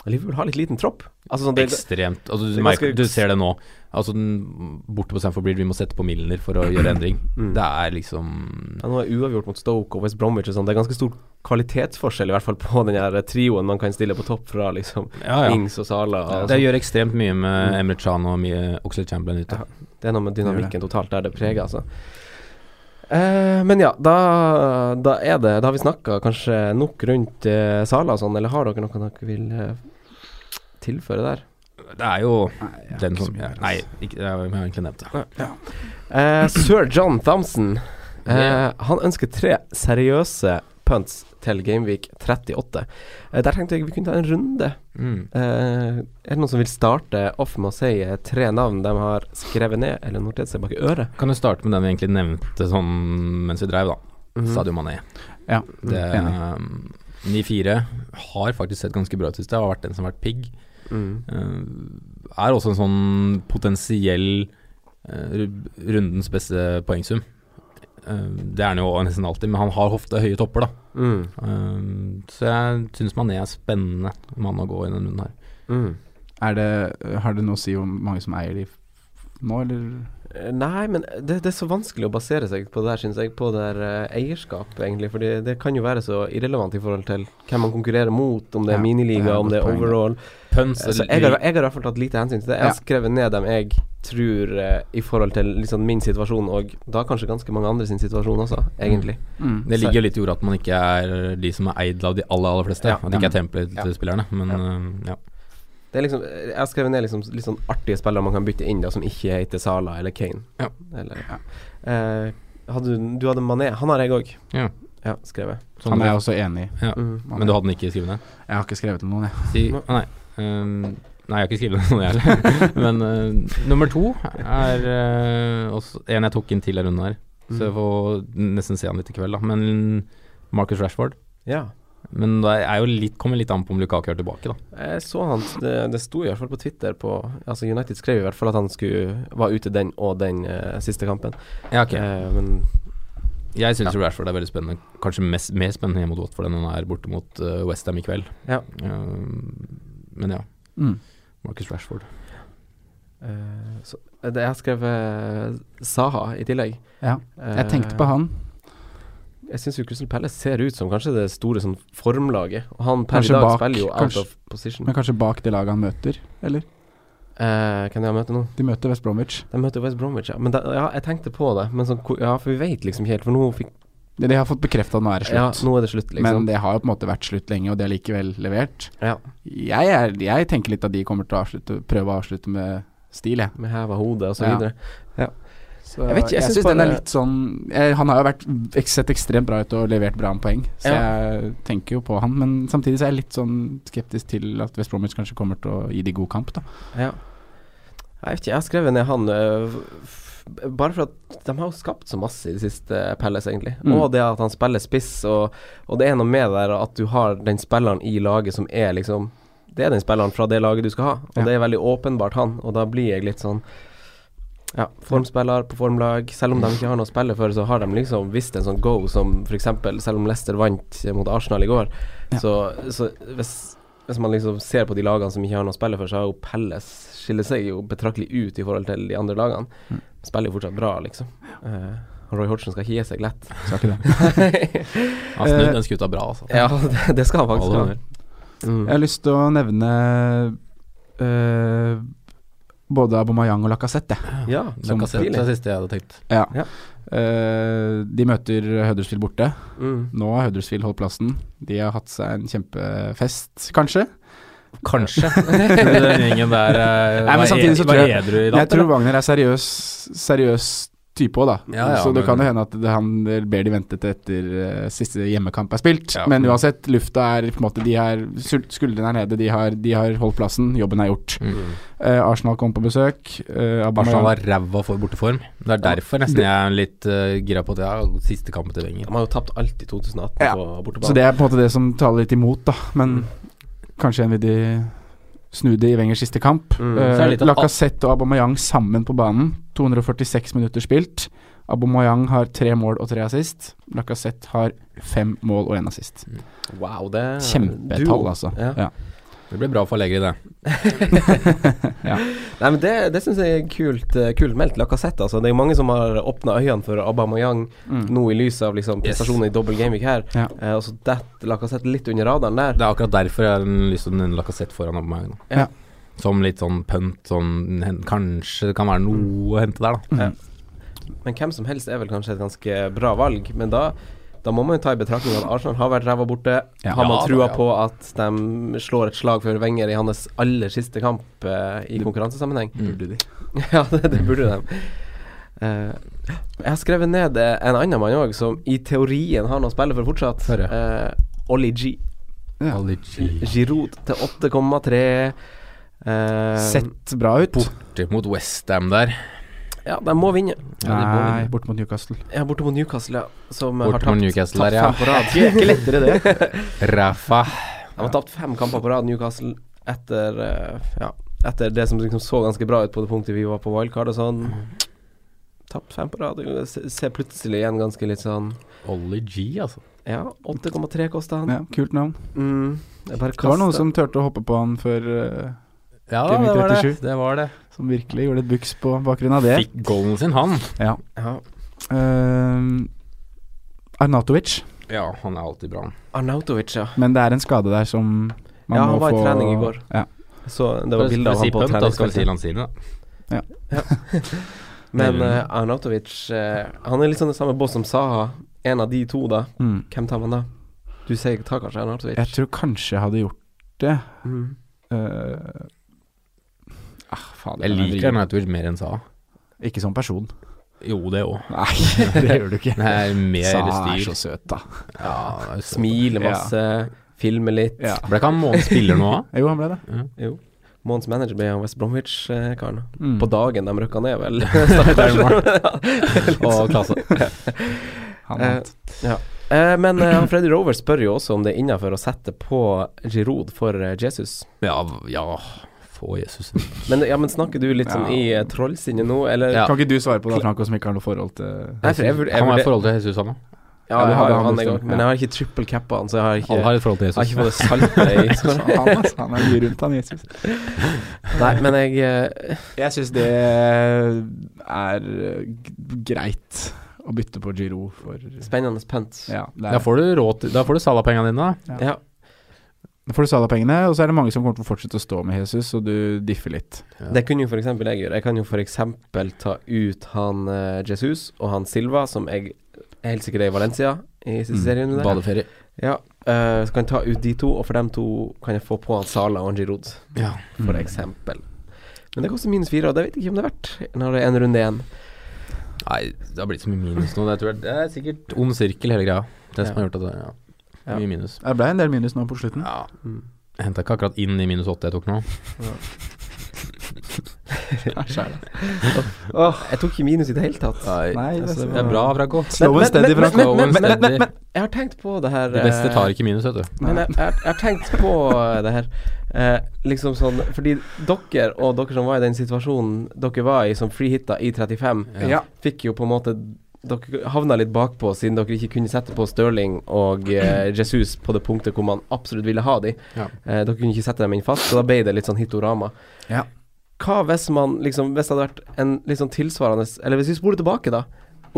Speaker 2: Liverpool har litt liten tropp. Altså, sånn, det,
Speaker 4: Ekstremt. Altså,
Speaker 2: det
Speaker 4: du,
Speaker 2: er
Speaker 4: merker,
Speaker 2: ganske-
Speaker 4: du ser det nå. Altså, den, borte på Stamford Bridge, vi må sette på Milner for å gjøre endring.
Speaker 2: Mm.
Speaker 4: Det er liksom
Speaker 2: Ja, nå er uavgjort mot Stoke og West Bromwich og sånn. Det er ganske stor kvalitetsforskjell, i hvert fall på den her trioen man kan stille på topp fra liksom
Speaker 4: Ja, ja.
Speaker 2: Ings og Sala. Og
Speaker 4: Det
Speaker 2: sånn.
Speaker 4: gjør ekstremt mye med Emre Chan og mye Oxley Chamberlain ute.
Speaker 2: Ja. det er noe med
Speaker 3: Det
Speaker 2: dynamikken totalt der det preger, altså. Eh, men ja, da, da er det Da har vi snakka kanskje nok rundt eh, Sala og sånn, eller har dere noe dere vil eh, tilføre der?
Speaker 4: Det er jo
Speaker 3: Nei, jeg har
Speaker 4: den
Speaker 3: ikke så
Speaker 4: som
Speaker 3: mye mer,
Speaker 4: Nei,
Speaker 3: altså.
Speaker 4: ikke, jeg har egentlig nevnt det.
Speaker 2: Eh, Sir John Thompson. Eh,
Speaker 4: Ja.
Speaker 2: Han ønsker tre seriøse punts til Gameweek 38. Eh, der tenkte jeg vi kunne ta en runde.
Speaker 4: Mm.
Speaker 2: Eh, er det noen som vil starte off med å si eh, tre navn de har skrevet ned eller notert seg bak i øret?
Speaker 4: Kan jo starte med den vi egentlig nevnte sånn mens vi dreiv, da.
Speaker 2: Mhm.
Speaker 3: Mm.
Speaker 4: Sadio Mané.
Speaker 3: Ja,
Speaker 4: Det,
Speaker 3: enig.
Speaker 4: um, 9-4 har faktisk sett ganske bra ut sist. Det har vært den som har vært pigg.
Speaker 2: Mm.
Speaker 4: Uh, er også en sånn potensiell uh, ru- rundens beste poengsum. Uh, det er han jo nesten alltid, men han har ofte høye topper, da.
Speaker 2: Mm.
Speaker 4: Um, så jeg syns Mané er spennende mann å gå i denne runden her.
Speaker 2: Mm.
Speaker 3: Er det, øh, har det noe å si om mange som eier de f- nå, eller?
Speaker 2: Eh, Nei, men det, det er så vanskelig å basere seg på det der, syns jeg, på det der eh, eierskap, egentlig. Fordi det kan jo være så irrelevant i forhold til hvem man konkurrerer mot, om det er
Speaker 3: Ja, det er
Speaker 2: miniliga,
Speaker 3: et
Speaker 2: om det er
Speaker 3: godt poeng, det.
Speaker 2: overall.
Speaker 4: Pønsk
Speaker 2: Så Altså, jeg har, jeg har i hvert fall tatt lite hensyn til det. Jeg har
Speaker 3: Ja.
Speaker 2: skrevet ned dem jeg tror eh, i forhold til liksom min situasjon, og da kanskje ganske mange andre sin situasjon også, egentlig.
Speaker 3: Mm.
Speaker 4: Det ligger jo litt i ordet at man ikke er de som er eid av de aller, aller fleste.
Speaker 2: Ja.
Speaker 4: At det ikke er tempelet til spillerne, men uh, ja.
Speaker 2: Det er liksom, jeg har skrevet ned liksom, litt sånn artige spillere man kan bytte inn, da, som ikke heter Sala eller Kane.
Speaker 4: Ja.
Speaker 2: Eller,
Speaker 3: Ja.
Speaker 2: Eh, hadde du, du hadde Mané. Han har jeg òg.
Speaker 4: Ja.
Speaker 2: Ja, skrevet.
Speaker 4: Sånn
Speaker 3: Han er
Speaker 4: det-
Speaker 3: jeg også enig i.
Speaker 2: Mm.
Speaker 3: Man
Speaker 4: Men du
Speaker 3: er-
Speaker 4: hadde den ikke skrevet ned?
Speaker 3: Jeg har ikke skrevet om noen, jeg.
Speaker 4: Si,
Speaker 2: Nå-
Speaker 4: å nei. ehm, nei, jeg har ikke skrevet ned noe, jeg heller. Men eh, nummer to er eh, også en jeg tok inn til denne runden her. Så jeg får nesten se han litt i kveld, da. Men Marcus Rashford.
Speaker 2: Mm. Ja.
Speaker 4: Men det er jo litt, kommer litt an på om Lukaku er tilbake, da.
Speaker 2: Jeg så han det, det sto i hvert fall på Twitter på Altså United skrev i hvert fall at han skulle var ute den og den eh, siste kampen.
Speaker 4: Ja, ok.
Speaker 2: Eh, men
Speaker 4: Jeg syns Rashford er veldig spennende. Kanskje mest, mer spennende hjemme mot Watford enn han er borte mot eh, West Westham i kveld.
Speaker 2: Ja.
Speaker 4: Ehm, men ja,
Speaker 3: Mm.
Speaker 4: Marcus Rashford.
Speaker 2: eh, så, det, Jeg skrev Saha i tillegg.
Speaker 3: Ja. Jeg tenkte på
Speaker 2: han
Speaker 3: han.
Speaker 2: Jeg syns jo Crystal Palace ser ut som kanskje det store sånn formlaget. Og han per
Speaker 3: Kanskje
Speaker 2: i dag
Speaker 3: bak,
Speaker 2: spiller jo out
Speaker 3: kanskje-
Speaker 2: of position.
Speaker 3: Men kanskje bak det laget han møter, eller?
Speaker 2: Eh, hvem er det de møter nå?
Speaker 3: De møter West Bromwich.
Speaker 2: De møter West Bromwich, ja. Men da, ja, jeg tenkte på det. Men sånn, hvor- ja, for vi vet liksom ikke helt, for nå fikk
Speaker 3: Det de har fått bekrefta, nå er det
Speaker 2: Ja,
Speaker 3: slutt.
Speaker 2: nå er det slutt, liksom.
Speaker 3: Men det har jo på en måte vært slutt lenge, og de har likevel levert.
Speaker 2: ja,
Speaker 3: Jeg, er, jeg tenker litt at de kommer til å avslutte, prøve å avslutte med stil, jeg.
Speaker 2: med heva hodet og så
Speaker 3: Ja.
Speaker 2: videre.
Speaker 3: Så
Speaker 2: Jeg vet ikke, jeg
Speaker 3: jeg
Speaker 2: synes
Speaker 3: syns den er
Speaker 2: bare-
Speaker 3: litt sånn jeg, Han har jo vært, ek- sett ekstremt bra ut og levert bra med poeng, så jeg tenker jo på han. Men samtidig så er jeg litt sånn skeptisk til at West Bromwich kanskje kommer til å gi de god kamp, da.
Speaker 2: Ja. Jeg vet ikke, jeg har skrevet ned han øh, f- f- bare for at de har jo skapt så masse i det siste Pelles, egentlig.
Speaker 3: Mm.
Speaker 2: Og det at han spiller spiss, og, og det er noe med det der at du har den spilleren i laget som er liksom Det er den spilleren fra det laget du skal ha, og
Speaker 3: Ja.
Speaker 2: det er veldig åpenbart han, og da blir jeg litt sånn Ja, formspiller på formlag. Selv om de ikke har noe å spille for, så har de liksom visst en sånn go som f.eks. selv om Leicester vant mot Arsenal i går,
Speaker 3: Ja.
Speaker 2: så, så hvis, hvis man liksom ser på de lagene som ikke har noe å spille for, så har jo Pelles skiller seg jo betraktelig ut i forhold til de andre lagene.
Speaker 3: Mm.
Speaker 2: Spiller jo fortsatt bra, liksom. Eh, Roy Hodgson skal hie seg lett.
Speaker 3: Sa ikke det.
Speaker 4: Han snudde den skuta bra, altså.
Speaker 2: ja, det, det skal han
Speaker 4: Alle
Speaker 2: faktisk ha.
Speaker 4: ganger.
Speaker 2: Mm.
Speaker 3: Jeg har lyst til å nevne eh, både Abomayang og Lacassette.
Speaker 2: Ja,
Speaker 4: Som kassett, det
Speaker 2: tidlig.
Speaker 4: er siste jeg hadde tenkt.
Speaker 3: Ja.
Speaker 2: Ja.
Speaker 3: Eh, de møter Huddersfield borte.
Speaker 2: Mm.
Speaker 3: Nå har Huddersfield holdt plassen. De har hatt seg en kjempefest, kanskje.
Speaker 4: Kanskje. Den gjengen der eh,
Speaker 3: Nei, men
Speaker 4: var
Speaker 3: samtidig
Speaker 4: ed-
Speaker 3: så
Speaker 4: var
Speaker 3: tror jeg-
Speaker 4: edru i
Speaker 3: Jeg
Speaker 4: natt.
Speaker 3: tror Wagner er seriøs, seriøs type òg, da.
Speaker 4: Ja, ja,
Speaker 3: så det
Speaker 4: men-
Speaker 3: kan jo hende at det, han ber de vente til etter eh, siste hjemmekamp er spilt.
Speaker 4: Ja.
Speaker 3: Men uansett, lufta er på en måte De er skul- Skuldrene er nede, de har, de har holdt plassen, jobben er gjort.
Speaker 4: Mm.
Speaker 3: Eh, Arsenal kom på besøk. eh,
Speaker 4: Arsenal
Speaker 3: Aubameyang-
Speaker 4: var ræva for borteform. Det er derfor nesten jeg er litt eh, gira på at ja, siste kampen til Wenger.
Speaker 2: De har jo tapt alt i 2018
Speaker 3: Ja.
Speaker 2: på bortebane.
Speaker 3: Så det er på en måte det som taler litt imot, da. Men
Speaker 2: Mm.
Speaker 3: kanskje en vil de snu det i Wengers siste kamp.
Speaker 2: Mm.
Speaker 4: Så er det
Speaker 3: Eh,
Speaker 4: litt at-
Speaker 3: Lacassette og Aubameyang sammen på banen. 246 minutter spilt. Aubameyang har tre mål og tre assist. Lacassette har fem mål og én assist.
Speaker 2: Wow, det er
Speaker 3: Kjempetall,
Speaker 2: duo.
Speaker 3: altså.
Speaker 2: Ja.
Speaker 3: Ja.
Speaker 4: Det blir bra for Allegri, det.
Speaker 2: Nei, men Det, det syns jeg er kult, eh, kult meldt. Lacassette, altså. Det er jo mange som har åpna øynene for Aubameyang
Speaker 3: Mm.
Speaker 2: nå i lys av liksom
Speaker 4: Yes.
Speaker 2: prestasjonen i dobbel gameweek her.
Speaker 3: Ja.
Speaker 2: Eh, og så detter Lacassette litt under radaren der.
Speaker 4: Det er akkurat derfor jeg har lyst til å nevne Lacassette foran Aubameyang. nå.
Speaker 3: Ja.
Speaker 4: Som litt sånn pønt, sånn hen- Kanskje det kan være noe å hente der, da.
Speaker 3: Mm.
Speaker 2: Men hvem som helst er vel kanskje et ganske bra valg. Men da, da må man jo ta i betraktning at Arsenal har vært ræva borte.
Speaker 3: Ja.
Speaker 2: Har man
Speaker 4: Ja,
Speaker 2: trua
Speaker 4: ja.
Speaker 2: på at de slår et slag for Wenger i hans aller siste kamp eh, i konkurransesammenheng?
Speaker 4: Mm.
Speaker 2: Ja, det, det burde de. Eh, jeg har skrevet ned eh, en annen mann òg, som i teorien har noe å spille for fortsatt.
Speaker 4: Hør,
Speaker 2: Uh, Oli G.
Speaker 3: Ja.
Speaker 2: Giroud til 8,3. Eh,
Speaker 3: Sett bra ut.
Speaker 4: Borte mot Westham der.
Speaker 2: Ja, de må vinne.
Speaker 3: Nei, bort mot Newcastle.
Speaker 2: Ja, borte mot Newcastle, ja, som eh,
Speaker 4: Borte mot
Speaker 2: har tapt,
Speaker 4: Newcastle
Speaker 2: tapt
Speaker 4: der, ja.
Speaker 2: fem på rad. Ikke lettere det.
Speaker 4: Rafa.
Speaker 2: De har tapt fem kamper på rad, Newcastle, etter eh, Ja, etter det som liksom så ganske bra ut på det punktet vi var på wildcard og sånn. Tapt fem på rad. Det Ser plutselig igjen ganske litt sånn
Speaker 4: Ollie G, altså.
Speaker 2: Ja, 8,3 kosta han.
Speaker 3: Ja, kult navn.
Speaker 2: Mm, jeg bare
Speaker 3: Det var noen
Speaker 2: kastet-
Speaker 3: som turte å hoppe på han før eh,
Speaker 4: Ja,
Speaker 3: Game
Speaker 4: det var det.
Speaker 3: 37.
Speaker 4: det, var det.
Speaker 3: Som virkelig gjorde et buks på bakgrunn av det.
Speaker 4: Fikk goalen sin, han.
Speaker 3: Ja.
Speaker 2: ja.
Speaker 3: Eh, Arnatovic.
Speaker 4: Ja, han er alltid bra.
Speaker 2: Arnautovic, ja.
Speaker 3: Men det er en skade der som man
Speaker 2: Ja,
Speaker 3: må
Speaker 2: han var i
Speaker 3: få
Speaker 2: trening i går.
Speaker 3: Ja.
Speaker 2: Så det var bilde av han på
Speaker 4: Prinsippet, Da skal vi si
Speaker 2: treningsfeltet.
Speaker 4: Lanzini, da.
Speaker 2: Men eh, Arnautovic eh, Han er litt sånn det samme boss som Saha. En av de to, da.
Speaker 3: Mm.
Speaker 2: Hvem tar man da? Du sier ta kanskje Arnautovic?
Speaker 3: Jeg tror kanskje jeg hadde gjort det.
Speaker 2: Mm.
Speaker 3: Eh, ah, faen,
Speaker 4: Jeg
Speaker 3: den er
Speaker 4: liker
Speaker 3: vrien.
Speaker 4: Nightwitch mer enn Sa.
Speaker 3: Ikke som person.
Speaker 4: Jo, det òg.
Speaker 3: Nei, det gjør du ikke.
Speaker 4: Det er mer
Speaker 3: Sa er
Speaker 4: styr.
Speaker 3: så søt, da.
Speaker 4: Ja, det er så-
Speaker 2: Smiler masse, filmer litt.
Speaker 3: Ja.
Speaker 4: Ble ikke han månedens spiller nå, da?
Speaker 3: Jo, han ble det.
Speaker 2: Jo. Månens manager ble han West Bromwich-karen.
Speaker 3: Mm.
Speaker 2: På dagen de røkka ned, vel.
Speaker 4: Og klasse.
Speaker 3: Han
Speaker 2: Eh,
Speaker 3: vant.
Speaker 2: Eh, Men eh, han Freddy Rover spør jo også om det er innafor å sette på Giroud for eh, Jesus.
Speaker 4: Ja, ja. Få Jesus.
Speaker 2: Men, ja, men snakker du litt sånn
Speaker 3: Ja.
Speaker 2: i eh, trollsinne nå, eller?
Speaker 4: Ja.
Speaker 3: Kan ikke du svare på det, Franco, som ikke har noe forhold til
Speaker 2: Nei, for jeg vurd- jeg
Speaker 4: Han har
Speaker 2: vurd-
Speaker 4: et forhold til Jesus, han òg.
Speaker 2: Ja,
Speaker 3: Ja, du
Speaker 2: jeg
Speaker 3: hadde
Speaker 2: har jo
Speaker 3: han
Speaker 2: han
Speaker 3: også,
Speaker 2: i gang, men
Speaker 3: ja.
Speaker 2: jeg har ikke triple cappa han, så jeg har ikke,
Speaker 4: Alle har et forhold til
Speaker 2: jeg har
Speaker 4: Jesus.
Speaker 2: ikke fått det saltet i
Speaker 3: Faen, ass, Han er mye rundt han, Jesus.
Speaker 2: Nei, men jeg eh,
Speaker 3: Jeg syns det er g- greit å bytte på Giro for
Speaker 2: Spennende pent. Ja.
Speaker 3: ja, det
Speaker 4: Da
Speaker 3: er.
Speaker 4: får du råd til Da får du Salah-pengene dine, da.
Speaker 3: Da får du Salah-pengene, og så er det mange som kommer til å fortsette å stå med Jesus, og du differ litt.
Speaker 2: Det kunne jo for eksempel jeg gjøre. Jeg kan jo for eksempel ta ut han eh, Jesus og han Silva, som jeg er helt sikkert er i Valencia i siste
Speaker 3: Mm,
Speaker 2: serien. Der.
Speaker 4: Badeferie.
Speaker 2: Ja, eh, så kan jeg ta ut de to, og for dem to kan jeg få på han Sala og han Giroud,
Speaker 4: Ja.
Speaker 2: for eksempel. Men det koster minus fire, og det vet jeg ikke om det er verdt når det er en runde igjen.
Speaker 4: Nei, det har blitt så mye minus nå. Det, tror jeg, det er sikkert ond sirkel, hele greia. Det som
Speaker 2: Ja.
Speaker 4: har gjort at det ja.
Speaker 2: Ja.
Speaker 4: Mye minus.
Speaker 3: Det ble en del minus nå på slutten.
Speaker 4: Ja.
Speaker 2: Mm.
Speaker 4: Jeg henta ikke akkurat inn i minus åtte jeg tok nå.
Speaker 2: Åh, jeg tok ikke minus i det hele tatt.
Speaker 3: Nei,
Speaker 2: altså,
Speaker 3: det
Speaker 4: Det er bra, Franco.
Speaker 3: Slow and steady,
Speaker 2: men,
Speaker 3: Franco.
Speaker 2: men, men, men,
Speaker 4: Steady.
Speaker 2: men, men, jeg har tenkt på det her
Speaker 4: Det beste
Speaker 2: eh,
Speaker 4: tar ikke minus, vet du.
Speaker 2: Men jeg, jeg, jeg har tenkt på eh, det her. Eh, liksom sånn Fordi dere og dere som var i den situasjonen dere var i som freehitta i 35,
Speaker 3: Ja.
Speaker 2: fikk jo på en måte Dere havna litt bakpå siden dere ikke kunne sette på Stirling og eh, Jesus på det punktet hvor man absolutt ville ha de.
Speaker 4: Ja.
Speaker 2: Eh, dere kunne ikke sette dem inn fast, så da ble det litt sånn hitorama.
Speaker 3: Ja.
Speaker 2: Hva hvis man liksom Hvis det hadde vært en litt sånn tilsvarende Eller hvis vi spoler tilbake, da.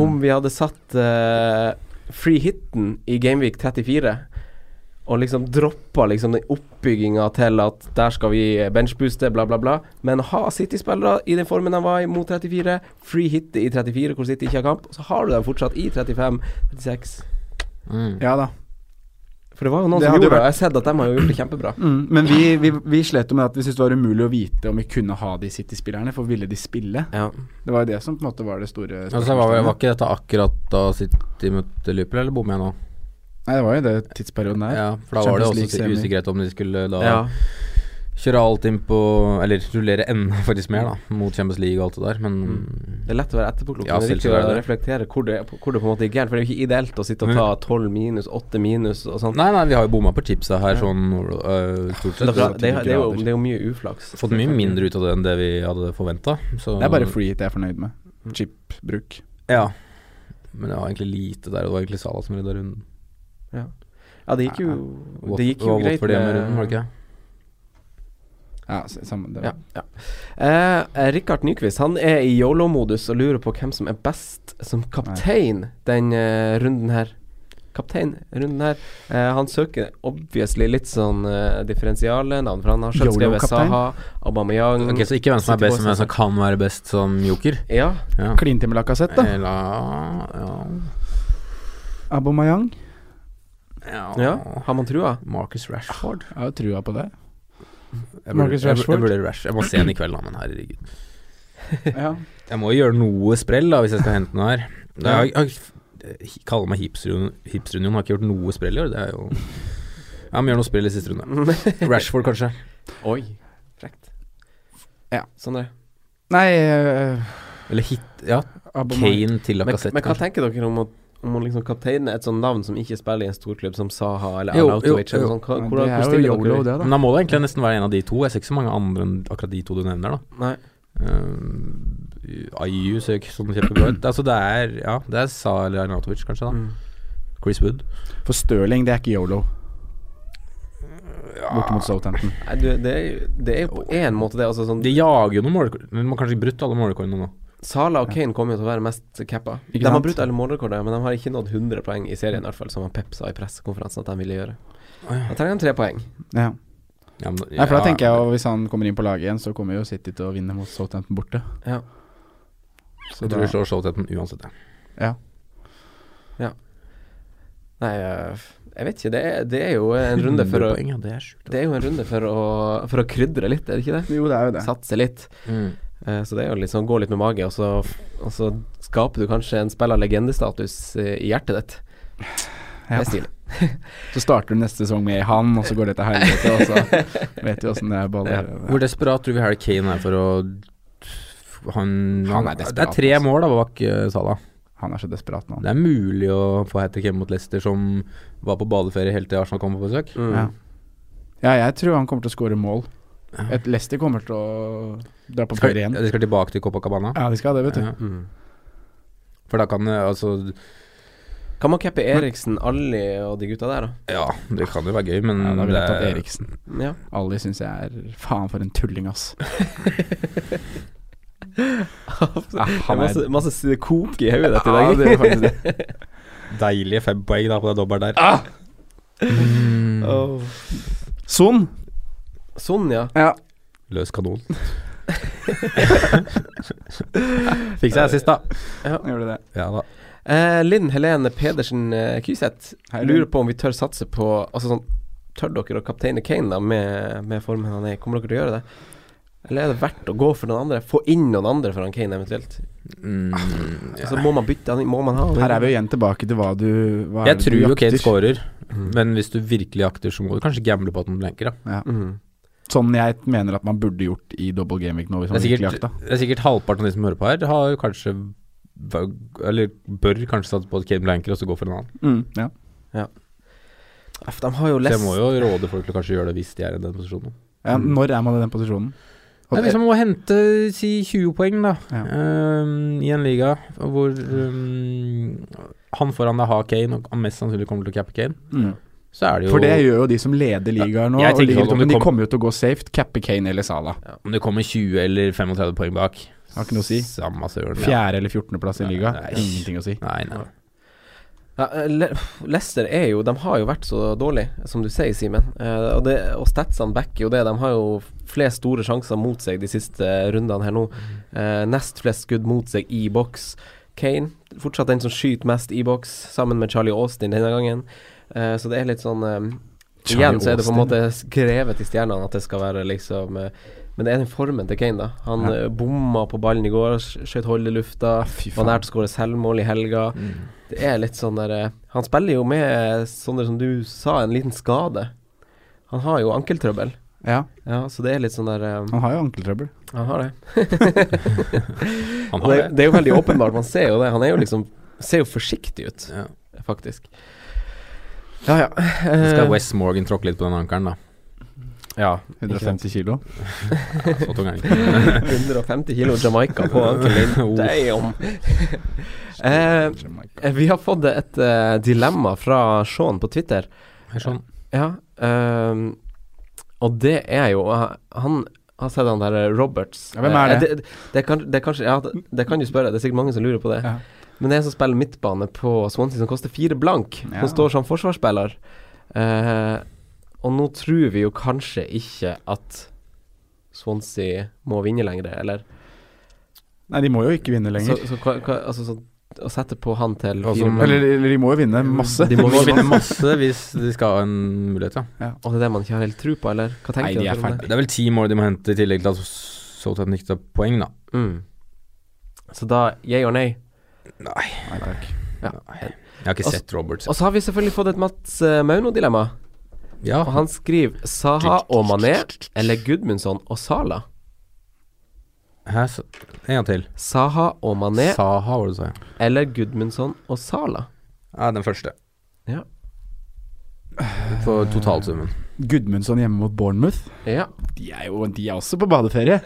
Speaker 2: Om vi hadde satt eh, free hitten i Gameweek 34 og liksom droppa liksom den oppbygginga til at der skal vi benchbooste, bla, bla, bla. Men ha City-spillere i den formen de var i mot 34, free hit i 34 hvor City ikke har kamp, og så har du dem fortsatt i 35, 36
Speaker 4: Mm.
Speaker 3: ja da.
Speaker 2: For det var jo noen
Speaker 3: Det
Speaker 2: som
Speaker 3: hadde
Speaker 2: gjorde det,
Speaker 3: vært-
Speaker 2: og jeg har sett at de har jo gjort det kjempebra.
Speaker 3: Mm, men vi, vi, vi slet jo med at vi syntes det var umulig å vite om vi kunne ha de City-spillerne, for ville de spille?
Speaker 2: Ja.
Speaker 3: Det var jo det som på en måte var det store
Speaker 4: Altså, var, var ikke dette akkurat da City møtte Liverpool, eller bommer jeg nå?
Speaker 3: Nei, det var jo det tidsperioden der.
Speaker 4: Ja, for da var det
Speaker 3: Champions
Speaker 4: også
Speaker 3: League semi.
Speaker 4: usikkerhet om de skulle da
Speaker 2: Ja.
Speaker 4: kjøre alt inn på Eller rullere enda faktisk mer, da, mot Champions League og alt det der, men
Speaker 2: Det er lett å være etterpåklok,
Speaker 4: Ja,
Speaker 2: men det er viktig
Speaker 4: selvfølgelig
Speaker 2: å
Speaker 4: er det det.
Speaker 2: reflektere hvor det, hvor det på en måte gikk gærent. For det er jo ikke ideelt å sitte og ta 12 minus, 8 minus og sånt.
Speaker 4: Nei, nei, vi har jo bomma på chipsa her, sånn øh,
Speaker 2: Det,
Speaker 4: stort sett.
Speaker 2: er-
Speaker 4: så-
Speaker 2: det, er- det, er jo, det er jo mye uflaks.
Speaker 4: Fått mye mindre ut av det enn det vi hadde forventa.
Speaker 3: Det er bare free hit jeg er fornøyd med. Chip-bruk.
Speaker 4: Ja. Men det var egentlig lite der, og det var egentlig Salah som redda runden.
Speaker 2: Ja, det gikk jo, det gikk jo greit.
Speaker 4: for det med
Speaker 2: med-
Speaker 4: runden, var det ikke?
Speaker 3: Ja, s- samme det.
Speaker 2: Ja. Eh, eh, Rikard Nyquist han er i yolo-modus og lurer på hvem som er best som kaptein den eh, runden her. Kaptein runden her. Eh, han søker obviously litt sånn eh, differensiale navn, for han har selv skrevet
Speaker 3: YOLO-kaptein?
Speaker 2: Saha, Aubameyang
Speaker 4: Ok, Så ikke hvem som er best, men hvem som kan være best som joker?
Speaker 2: Ja.
Speaker 4: Ja.
Speaker 3: Klinte med Lacassette, da.
Speaker 4: Eller ja.
Speaker 3: Abomayang.
Speaker 2: ja. Har man trua?
Speaker 4: Marcus Rashford.
Speaker 3: Jeg har jo trua på det.
Speaker 4: Jeg
Speaker 3: Marcus
Speaker 4: jeg-
Speaker 3: Rashford?
Speaker 4: Jeg, burde Rash- jeg må se den i kveld, da, men herregud.
Speaker 3: Ja.
Speaker 4: Jeg må jo gjøre noe sprell da hvis jeg skal hente den her. Det er, jeg, jeg, jeg kaller meg hipsterunion, hipsterunion, har ikke gjort noe sprell i år. Det er jo Jeg må gjøre noe sprell i siste runde. Rashford, kanskje.
Speaker 2: Oi. Frekt. Sånn
Speaker 3: Ja.
Speaker 2: Sondre.
Speaker 3: Nei øh,
Speaker 4: Eller hit Ja,
Speaker 3: Aubameyang.
Speaker 4: Kane til
Speaker 2: Men,
Speaker 4: Lacassette,
Speaker 2: men hva
Speaker 4: kanskje.
Speaker 2: tenker dere om å, om å liksom kapteine et sånt navn som ikke spiller i en storklubb som Saha eller
Speaker 4: Jo,
Speaker 2: Arnautovic?
Speaker 4: jo,
Speaker 2: eller
Speaker 4: jo.
Speaker 2: sånn? Hva-
Speaker 3: Men
Speaker 2: Hvordan
Speaker 3: Det
Speaker 2: hvor
Speaker 3: er jo
Speaker 2: stiller
Speaker 3: yolo,
Speaker 2: dere
Speaker 3: det, da.
Speaker 4: Men da må det egentlig nesten være en av de to. Jeg ser ikke så mange andre enn akkurat de to du nevner, da.
Speaker 2: Nei.
Speaker 4: Uh, IU ser jo ikke sånn kjempebra ut. Altså, det er Ja, det er Sa eller Arnatovic, kanskje, da.
Speaker 2: Mm.
Speaker 4: Chris Wood.
Speaker 3: For Stirling, det er ikke yolo. Borte mot Southampton.
Speaker 2: Nei, du, det, er, jo- det er jo på én måte det. Altså sånn,
Speaker 4: De jager jo noen målrekord Men De har kanskje brutt alle målrekordene nå.
Speaker 2: Sala og Kane kommer jo til å være mest cappa.
Speaker 3: Ikke
Speaker 2: De har
Speaker 3: sant?
Speaker 2: brutt alle målrekorder, men de har ikke nådd 100 poeng i serien, i hvert fall, som han Pep sa i pressekonferansen at de ville gjøre. Da trenger de tre poeng.
Speaker 3: Ja.
Speaker 4: Ja, men,
Speaker 3: Nei, for da
Speaker 4: ja,
Speaker 3: tenker jeg jo hvis han kommer inn på laget igjen, så kommer jo City til å vinne mot Southampton borte.
Speaker 2: Ja.
Speaker 3: Så
Speaker 4: Jeg tror
Speaker 3: da,
Speaker 4: vi slår Southampton uansett, jeg.
Speaker 3: ja.
Speaker 2: Nei, eh, jeg vet ikke. Det er, det er jo en runde for å
Speaker 4: 100 poeng, ja, det er sjukt.
Speaker 2: Det er jo en runde for å, for å krydre litt, er det ikke det?
Speaker 3: Jo, det er jo det.
Speaker 2: Satse litt.
Speaker 4: Mm.
Speaker 2: Eh, Så det er jo liksom gå litt med mage, og så, og så skaper du kanskje en spill av legendestatus eh, i hjertet ditt. Det
Speaker 3: Ja.
Speaker 2: er stilig.
Speaker 3: Så starter du neste sesong med han, og så går det til helvete, og så vet vi åssen det er baller.
Speaker 4: Hvor desperat tror vi Harry Kane er for å han,
Speaker 3: Han er
Speaker 4: Det
Speaker 3: desperat,
Speaker 4: er tre
Speaker 3: altså.
Speaker 4: mål da bak eh, Salah.
Speaker 3: Han er så desperat nå.
Speaker 4: Det er mulig å få hat trick hjemme mot Leicester, som var på badeferie helt til Arsenal kom på besøk.
Speaker 2: Mm.
Speaker 3: Ja. ja, jeg tror han kommer til å skåre mål.
Speaker 4: Ja.
Speaker 3: Et Leicester kommer til å dra på
Speaker 4: Skal,
Speaker 3: ferie
Speaker 4: ja,
Speaker 3: igjen.
Speaker 4: de skal tilbake til Copacabana.
Speaker 3: Ja, de skal det, vet du.
Speaker 4: Ja.
Speaker 2: Mm.
Speaker 4: For da kan eh, altså
Speaker 2: Kan man cappe Eriksen, Alli og de gutta der, da?
Speaker 4: Ja, det kan jo være gøy, men
Speaker 3: Ja, da ville
Speaker 4: Mm, det
Speaker 3: jeg tatt
Speaker 4: er-
Speaker 3: Eriksen.
Speaker 2: Ja.
Speaker 3: Ali syns jeg er Faen, for en tulling, ass. Ja,
Speaker 2: Det er
Speaker 3: han
Speaker 2: masse,
Speaker 3: er
Speaker 2: masse s- kok i hodet ditt i
Speaker 3: Ah, Ja,
Speaker 2: dag.
Speaker 3: det er faktisk det.
Speaker 4: Deilige fem poeng da på det dobbelt der. Ah! Mm.
Speaker 2: Åh.
Speaker 3: Son!
Speaker 2: Sånn, ja.
Speaker 3: Ja.
Speaker 4: Løs kanon. Fikk seg sist, da.
Speaker 3: Gjorde det.
Speaker 4: Ja da.
Speaker 2: Eh, Linn Helene Pedersen eh, Kyseth
Speaker 3: Hei, Linn.
Speaker 2: lurer på om vi tør satse på Altså sånn Tør dere å kapteine Kane da med, med formen han er i? Kommer dere til å gjøre det? Eller er det verdt å gå for noen andre? Få inn noen andre foran Kane eventuelt?
Speaker 4: Mm, ja.
Speaker 2: Så må man bytte han inn? Må man ha
Speaker 3: Her er vi jo igjen tilbake til hva du hva er
Speaker 4: Jeg
Speaker 3: det
Speaker 4: tror
Speaker 3: du
Speaker 4: jo Kane
Speaker 3: jakter? Mhm.
Speaker 4: scorer, men hvis du virkelig jakter, så må du kanskje gamble på at han blanker, da.
Speaker 2: Mm.
Speaker 3: sånn jeg mener at man burde gjort i double game week nå. Hvis man
Speaker 4: Det er,
Speaker 3: virkelig
Speaker 4: sikkert,
Speaker 3: jakta.
Speaker 4: det er sikkert halvparten av de som hører på her, har kanskje våg- Eller bør kanskje satse på Kate Blanker og så gå for en annen.
Speaker 3: Mm, ja.
Speaker 2: F, de har jo
Speaker 4: Så jeg
Speaker 2: lest
Speaker 4: må jo råde folk til å kanskje gjøre det hvis de er i den posisjonen.
Speaker 3: Ja, Når er man i den posisjonen?
Speaker 4: Mm. Det er liksom å hente si 20 poeng, da,
Speaker 3: Ja.
Speaker 4: ehm, i en liga hvor ehm, han foran deg har Kane, og han mest sannsynlig kommer til å cappe Kane,
Speaker 3: Mm.
Speaker 4: så er det jo
Speaker 3: For det gjør jo de som leder ligaer nå.
Speaker 4: Jeg
Speaker 3: Og
Speaker 4: tenker
Speaker 3: ligger,
Speaker 4: at om
Speaker 3: men
Speaker 4: det
Speaker 3: de
Speaker 4: kom-
Speaker 3: kommer jo til å gå safe. Cappe Kane eller Salah.
Speaker 4: Om det kommer 20 eller 35 poeng bak,
Speaker 3: Har ikke noe å si.
Speaker 4: samme søren. Ja.
Speaker 3: Fjerde- eller 14.-plass i
Speaker 4: Nei,
Speaker 3: liga.
Speaker 4: nei.
Speaker 3: Ingenting å si.
Speaker 4: Nei, nei.
Speaker 2: ja, eh, Le- Leicester er jo De har jo vært så dårlig, som du sier, Simen. Eh, og, det- og statsene backer jo det. De har jo flest store sjanser mot seg de siste rundene her nå.
Speaker 3: Mm.
Speaker 2: Eh, nest flest skudd mot seg i boks. Kane fortsatt den som skyter mest i boks, sammen med Charlie Austin denne gangen. Eh, så det er litt sånn eh,
Speaker 3: Charlie
Speaker 2: Igjen så er det på en
Speaker 3: Austin.
Speaker 2: måte skrevet i stjernene at det skal være liksom eh, men det er den formen til Kane, da. Han
Speaker 3: Ja.
Speaker 2: eh, bomma på ballen i går, sk- skjøt hold i lufta.
Speaker 3: fy
Speaker 2: Var nært å skåre selvmål i helga.
Speaker 4: Mm.
Speaker 2: Det er litt sånn der eh, Han spiller jo med, eh, Sondre, som du sa, en liten skade. Han har jo ankeltrøbbel.
Speaker 3: Ja,
Speaker 2: Ja, så det er litt sånn der eh,
Speaker 3: han har jo ankeltrøbbel.
Speaker 2: Han har det.
Speaker 4: Han
Speaker 2: Og
Speaker 4: har
Speaker 2: det,
Speaker 4: det.
Speaker 2: det er jo veldig åpenbart. Man ser jo det. Han er jo liksom Ser jo forsiktig ut,
Speaker 4: Ja.
Speaker 2: faktisk. Ja, ja.
Speaker 4: Så
Speaker 2: Eh,
Speaker 4: skal West Morgan tråkke litt på den ankelen, da.
Speaker 2: ja.
Speaker 3: 150 kilo.
Speaker 4: Ja, så tung er den ikke. Oh.
Speaker 2: 150 kilo Jamaica på ankelen din. Damn. Eh, Eh, Vi har fått et eh, dilemma fra Sean på Twitter.
Speaker 4: Her Sånn.
Speaker 2: Ja, ehm, og det er jo eh, Han har sett han der eh, Roberts.
Speaker 3: Ja, hvem er
Speaker 2: Eh,
Speaker 3: det?
Speaker 2: det, det, kan, det, er kanskje, ja, det, det kan du spørre, det er sikkert mange som lurer på det.
Speaker 3: Ja.
Speaker 2: Men det er en som spiller midtbane på Swansea som koster fire blank,
Speaker 3: Ja.
Speaker 2: som står som forsvarsspiller. Eh, og nå tror vi jo kanskje ikke at Swansea må vinne lenger, eller?
Speaker 3: Nei, de må jo ikke vinne
Speaker 2: Så,
Speaker 3: lenger.
Speaker 2: så, hva- hva- altså, så å sette på han til
Speaker 4: Altså,
Speaker 2: fire
Speaker 4: men-
Speaker 2: blank,
Speaker 3: Eller eller de må jo vinne masse.
Speaker 4: Mm. De må vinne masse hvis de skal ha en mulighet, ja.
Speaker 2: og det er det man ikke har helt tro på, eller? Hva tenker
Speaker 3: Nei, de
Speaker 2: dere
Speaker 3: er
Speaker 2: om det? sånn
Speaker 3: ferdig.
Speaker 4: Det er vel ti mål de må hente, i tillegg til at Southampton ikke tar poeng, da.
Speaker 2: Mm. Så da yeah or nay.
Speaker 3: Nei, takk.
Speaker 4: Jeg har ikke
Speaker 2: Altså-
Speaker 4: sett Roberts.
Speaker 2: Og så har vi selvfølgelig fått et Mats eh, Mauno-dilemma.
Speaker 4: Ja,
Speaker 2: Og han skriver Saha og Mané eller Gudmundsson og Sala.
Speaker 4: Hæ, så, en gang til.
Speaker 2: Saha og Mané
Speaker 4: Saha, var det du sa? ja.
Speaker 2: eller Gudmundsson og Sala.
Speaker 4: Ja, den første.
Speaker 2: Ja.
Speaker 4: På totalsummen.
Speaker 3: Gudmundsson hjemme mot Bournemouth.
Speaker 2: Ja.
Speaker 3: De er jo de er også på badeferie.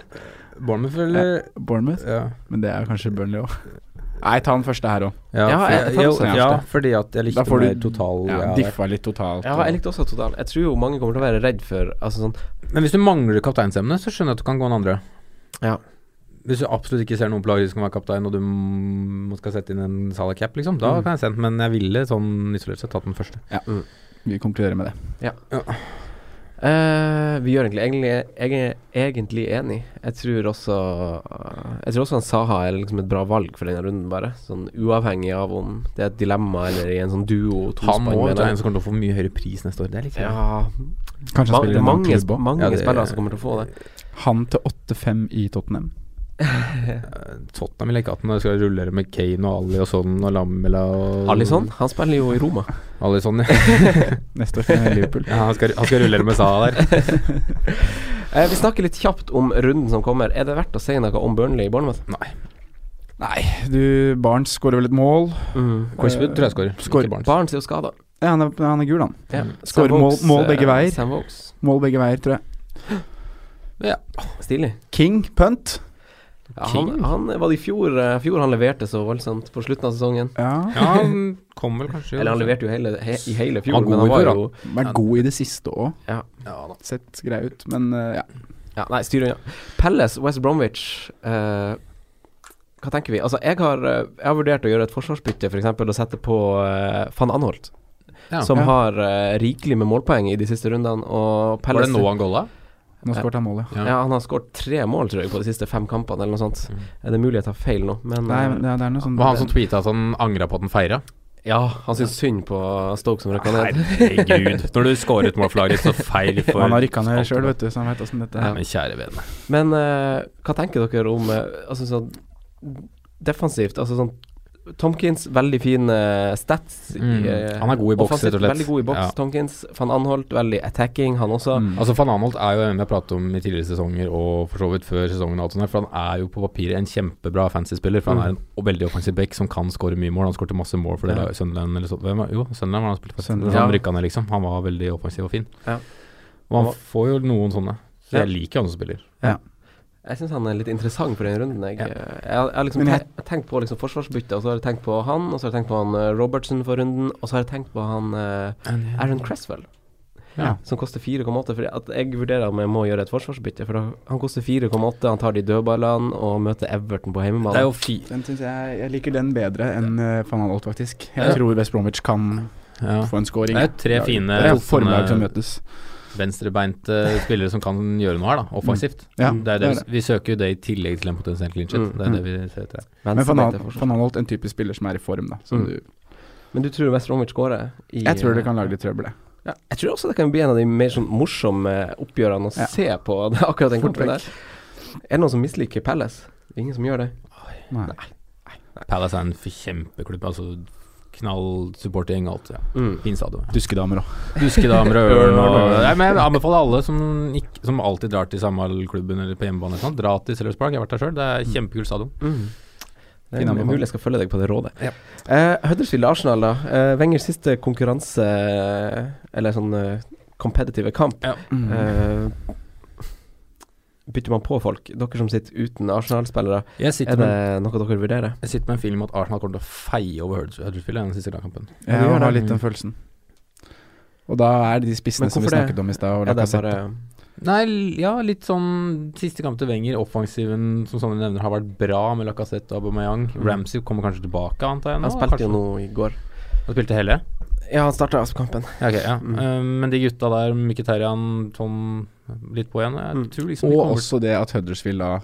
Speaker 4: Bournemouth, eller?
Speaker 3: Bournemouth,
Speaker 4: Ja.
Speaker 3: men det er kanskje Burnley òg. Nei, ta den første her òg.
Speaker 4: Ja,
Speaker 2: Ja,
Speaker 4: for,
Speaker 2: jeg- jeg tar
Speaker 4: jo,
Speaker 2: også den
Speaker 4: ja,
Speaker 3: første.
Speaker 4: fordi at jeg
Speaker 3: Da
Speaker 4: likte
Speaker 3: får du-
Speaker 4: mer total
Speaker 3: Ja,
Speaker 4: ja, der.
Speaker 3: diffa litt totalt.
Speaker 2: ja, jeg likte også total. Jeg tror jo mange kommer til å være redd for Altså sånn
Speaker 4: Men hvis du mangler kapteinsemne, så skjønner jeg at du kan gå en andre.
Speaker 2: Ja.
Speaker 4: Hvis du absolutt ikke ser noen på laget som kan være kaptein, og du må skal sette inn en Salah cap, liksom, da
Speaker 2: Mm.
Speaker 4: kan jeg sende den. Men jeg ville sånn isolert sett tatt den første.
Speaker 3: Vi konkluderer med det.
Speaker 2: eh, Vi gjør egentlig egentlig, jeg er egentlig enig. Jeg tror også Jeg tror også han Saha er liksom et bra valg for denne runden, bare. Sånn uavhengig av om det er et dilemma eller i en sånn duo.
Speaker 4: Han
Speaker 2: tospann,
Speaker 4: må jo
Speaker 2: mener
Speaker 4: ta
Speaker 2: jeg.
Speaker 4: en sånn- som kommer til å få mye høyere pris neste år. Det er litt
Speaker 2: Ja,
Speaker 3: Kanskje
Speaker 2: Ma-
Speaker 3: han
Speaker 2: det er
Speaker 3: spiller en annen
Speaker 2: mange,
Speaker 3: klubb også.
Speaker 2: mange
Speaker 4: Ja, det-
Speaker 2: spillere som kommer til å få det.
Speaker 3: Han til 8-5 i Tottenham.
Speaker 4: Tottenham ville ikke hatt den når de skal rullere med Kane og Ali og sånn og Lamela og
Speaker 2: Alison, han spiller jo i Roma.
Speaker 4: Alisson, ja.
Speaker 3: Neste år med Liverpool.
Speaker 4: ja han, skal, han skal rullere med Salah der.
Speaker 2: Eh, vi snakker litt kjapt om runden som kommer. Er det verdt å si noe om Burnley i Bournemouth?
Speaker 3: Nei, du Barnes skårer vel et mål.
Speaker 2: Eh,
Speaker 4: Korswood tror jeg skårer.
Speaker 3: Skår-
Speaker 4: Ikke Barnes.
Speaker 2: Barnes er jo skada.
Speaker 3: Ja, han er, han er gul, han.
Speaker 2: Ja.
Speaker 3: Skårer
Speaker 2: Sam Vokes,
Speaker 3: mål- mål begge
Speaker 2: eh,
Speaker 3: veier.
Speaker 2: Sam Vokes.
Speaker 3: Mål begge veier, tror jeg.
Speaker 2: Stilig.
Speaker 3: King, punt.
Speaker 2: Ja, han,
Speaker 4: King.
Speaker 2: han var det i fjor, eh, fjor han leverte så voldsomt på slutten av sesongen.
Speaker 3: Ja.
Speaker 4: Ja, han kom vel kanskje
Speaker 2: Eller han leverte jo hele, he, i hele fjor,
Speaker 4: Han var
Speaker 2: men han
Speaker 4: god i
Speaker 2: var
Speaker 4: fjor,
Speaker 2: jo
Speaker 3: Vært god i det siste òg.
Speaker 4: Ja da.
Speaker 3: Sett grei ut, men eh, ja.
Speaker 2: ja, Nei, styr unna. Palace, West Bromwich. eh, hva tenker vi? Altså, jeg har, eh, jeg har vurdert å gjøre et forsvarsbytte, f.eks. eksempel og sette på eh, van Anholt.
Speaker 4: Ja.
Speaker 2: som
Speaker 3: Ja.
Speaker 2: har eh, rikelig med målpoeng i de siste rundene. Og
Speaker 4: Var
Speaker 2: Palace
Speaker 4: det nå han golla?
Speaker 3: Nå skåret han mål, ja.
Speaker 2: Ja, han har skåret tre mål, tror jeg, på de siste fem kampene, eller noe sånt.
Speaker 4: Mm.
Speaker 2: Er det mulig jeg tar feil nå? Men
Speaker 3: Nei,
Speaker 2: eh,
Speaker 3: men det er- det er noe sånn
Speaker 4: Det var han som tweeta at han angra på at han feira.
Speaker 2: ja, han syns synd på Stoke som røkka ned.
Speaker 4: Herregud. Når du scorer et mål for laget, så feil for
Speaker 3: Han har rykka ned
Speaker 4: alt Mm.
Speaker 3: sjøl,
Speaker 4: det.
Speaker 3: vet du, så han vet åssen dette
Speaker 4: Nei,
Speaker 3: er.
Speaker 4: men kjære vene.
Speaker 2: Men eh, hva tenker dere om eh, Altså sånn defensivt, altså sånn Tomkins, veldig fine stats. i,
Speaker 4: Mm.
Speaker 2: eh,
Speaker 4: Han er god i boks,
Speaker 2: offensivt,
Speaker 4: rett og slett.
Speaker 2: Veldig god i boks,
Speaker 4: Ja.
Speaker 2: Tomkins. Van Anholt, veldig attacking, han også.
Speaker 3: Mm.
Speaker 4: Altså Van Anholt er jo en vi har pratet om i tidligere sesonger, og for så vidt før sesongen. og alt sånt der, For han er jo på papiret en kjempebra fantasy-spiller. For han
Speaker 2: Mm.
Speaker 4: er en o- veldig offensiv back som kan skåre mye mål. Han skårte masse mål for det
Speaker 3: Ja.
Speaker 4: da, Sunderland eller så. Hvem var, jo, Sunderland var han spilte for.
Speaker 3: Sunderland.
Speaker 4: Han
Speaker 2: Ja.
Speaker 4: rykka ned, liksom. Han var veldig offensiv og fin.
Speaker 2: Ja.
Speaker 4: Og
Speaker 2: Han
Speaker 4: han
Speaker 2: var-
Speaker 4: får jo noen sånne. Så jeg
Speaker 2: Ja.
Speaker 4: liker jo han som spiller.
Speaker 2: Jeg syns han er litt interessant for den runden. Jeg,
Speaker 4: Ja.
Speaker 2: Eh, jeg, har- jeg har liksom
Speaker 3: Men jeg-
Speaker 2: te- tenkt på liksom forsvarsbytte, og så har jeg tenkt på han, og så har jeg tenkt på han eh, Robertson for runden, og så har jeg tenkt på han eh, Aaron Cresswell.
Speaker 4: Ja.
Speaker 2: Som koster 4,8. For at jeg vurderer om jeg må gjøre et forsvarsbytte. For da, han koster 4,8, han tar de dødballene og møter Everton på hjemmebane.
Speaker 4: Det er jo fi...
Speaker 3: Den synes jeg, jeg liker den bedre enn eh, Van Anholt, faktisk. Jeg
Speaker 4: Ja.
Speaker 3: tror West Bromwich kan
Speaker 4: Ja.
Speaker 3: få en scoring.
Speaker 4: Det er jo tre
Speaker 3: Ja,
Speaker 4: fine
Speaker 3: det er jo
Speaker 4: sånne-
Speaker 3: formlag som møtes.
Speaker 4: venstrebeinte spillere som kan gjøre noe her, da, offensivt.
Speaker 3: Ja,
Speaker 4: det er det.
Speaker 3: det er
Speaker 4: Vi søker jo det i tillegg til en potensiell clean shit.
Speaker 2: Mm.
Speaker 4: Det er det vi ser etter.
Speaker 3: Men Van
Speaker 2: Venstrebeinte
Speaker 3: Anholt-
Speaker 2: forsvar.
Speaker 3: Van Anholt en typisk spiller som er i form, da. Som
Speaker 2: Mm.
Speaker 3: du,
Speaker 2: Men du tror West Bromwich skårer? i-
Speaker 3: jeg tror det kan lage litt trøbbel, jeg.
Speaker 2: Ja, jeg tror også det kan bli en av de mer sånn morsomme oppgjørene å
Speaker 3: Ja.
Speaker 2: se på det, er akkurat den
Speaker 3: Fort
Speaker 2: kampen der. Er det noen som misliker Palace? Det er ingen som gjør det.
Speaker 3: Nei.
Speaker 4: Palace er en f- kjempeklubb. Altså knallsupporting og alt. Ja.
Speaker 2: Mm.
Speaker 4: Fin stadion.
Speaker 3: Duskedamer òg.
Speaker 4: Duskedamer og
Speaker 2: Ørn
Speaker 4: ørn og
Speaker 2: og-
Speaker 4: Nei, men Jeg anbefaler alle som, ikk- som alltid drar til samme klubben eller på hjemmebane eller sånn, dra til Sellers Park. Jeg har vært der sjøl. Det er kjempekul stadion.
Speaker 2: Mm.
Speaker 3: Mm.
Speaker 2: Det
Speaker 3: Fin
Speaker 2: er
Speaker 3: anbefaling.
Speaker 2: mulig jeg skal følge deg på det rådet.
Speaker 4: Ja.
Speaker 2: Eh, Huddersfield Arsenal, da. Eh, Wengers siste konkurranse, eller sånn eh, kompetitive kamp.
Speaker 3: Mm.
Speaker 2: Eh, bytter man på folk? Dere som sitter uten Arsenal-spillere,
Speaker 4: Jeg
Speaker 2: er
Speaker 4: sitter,
Speaker 2: det
Speaker 4: med,
Speaker 2: noe dere vurderer?
Speaker 4: jeg sitter med en film om at Arsenal kommer til å feie over Huddersfield- Huddersfield i den siste kampen.
Speaker 2: Ja, du
Speaker 3: jeg
Speaker 2: gjør
Speaker 3: har
Speaker 2: det.
Speaker 3: litt den følelsen. Og da er det de spissene
Speaker 2: Men
Speaker 3: som vi
Speaker 2: hvorfor det?
Speaker 3: snakket om i stad. og
Speaker 2: Er det
Speaker 3: Lacazette.
Speaker 2: bare
Speaker 4: Nei, l- ja, litt sånn siste kamp til Wenger. Offensiven som sånne nevner har vært bra med Lacassette og Aubameyang. Ramsey kommer kanskje tilbake, antar
Speaker 2: Mm.
Speaker 4: jeg. Nå.
Speaker 2: Han spilte
Speaker 4: kanskje.
Speaker 2: jo nå i går.
Speaker 4: Han spilte hele?
Speaker 2: Ja, han starta Asp-kampen.
Speaker 4: Ja, ok, ja.
Speaker 2: Mm.
Speaker 4: Eh, men de gutta der, Mkhitaryan, Tom litt på igjen Jeg
Speaker 2: Mm.
Speaker 4: tror liksom de
Speaker 3: Og
Speaker 4: kommer
Speaker 3: også det at Huddersfield da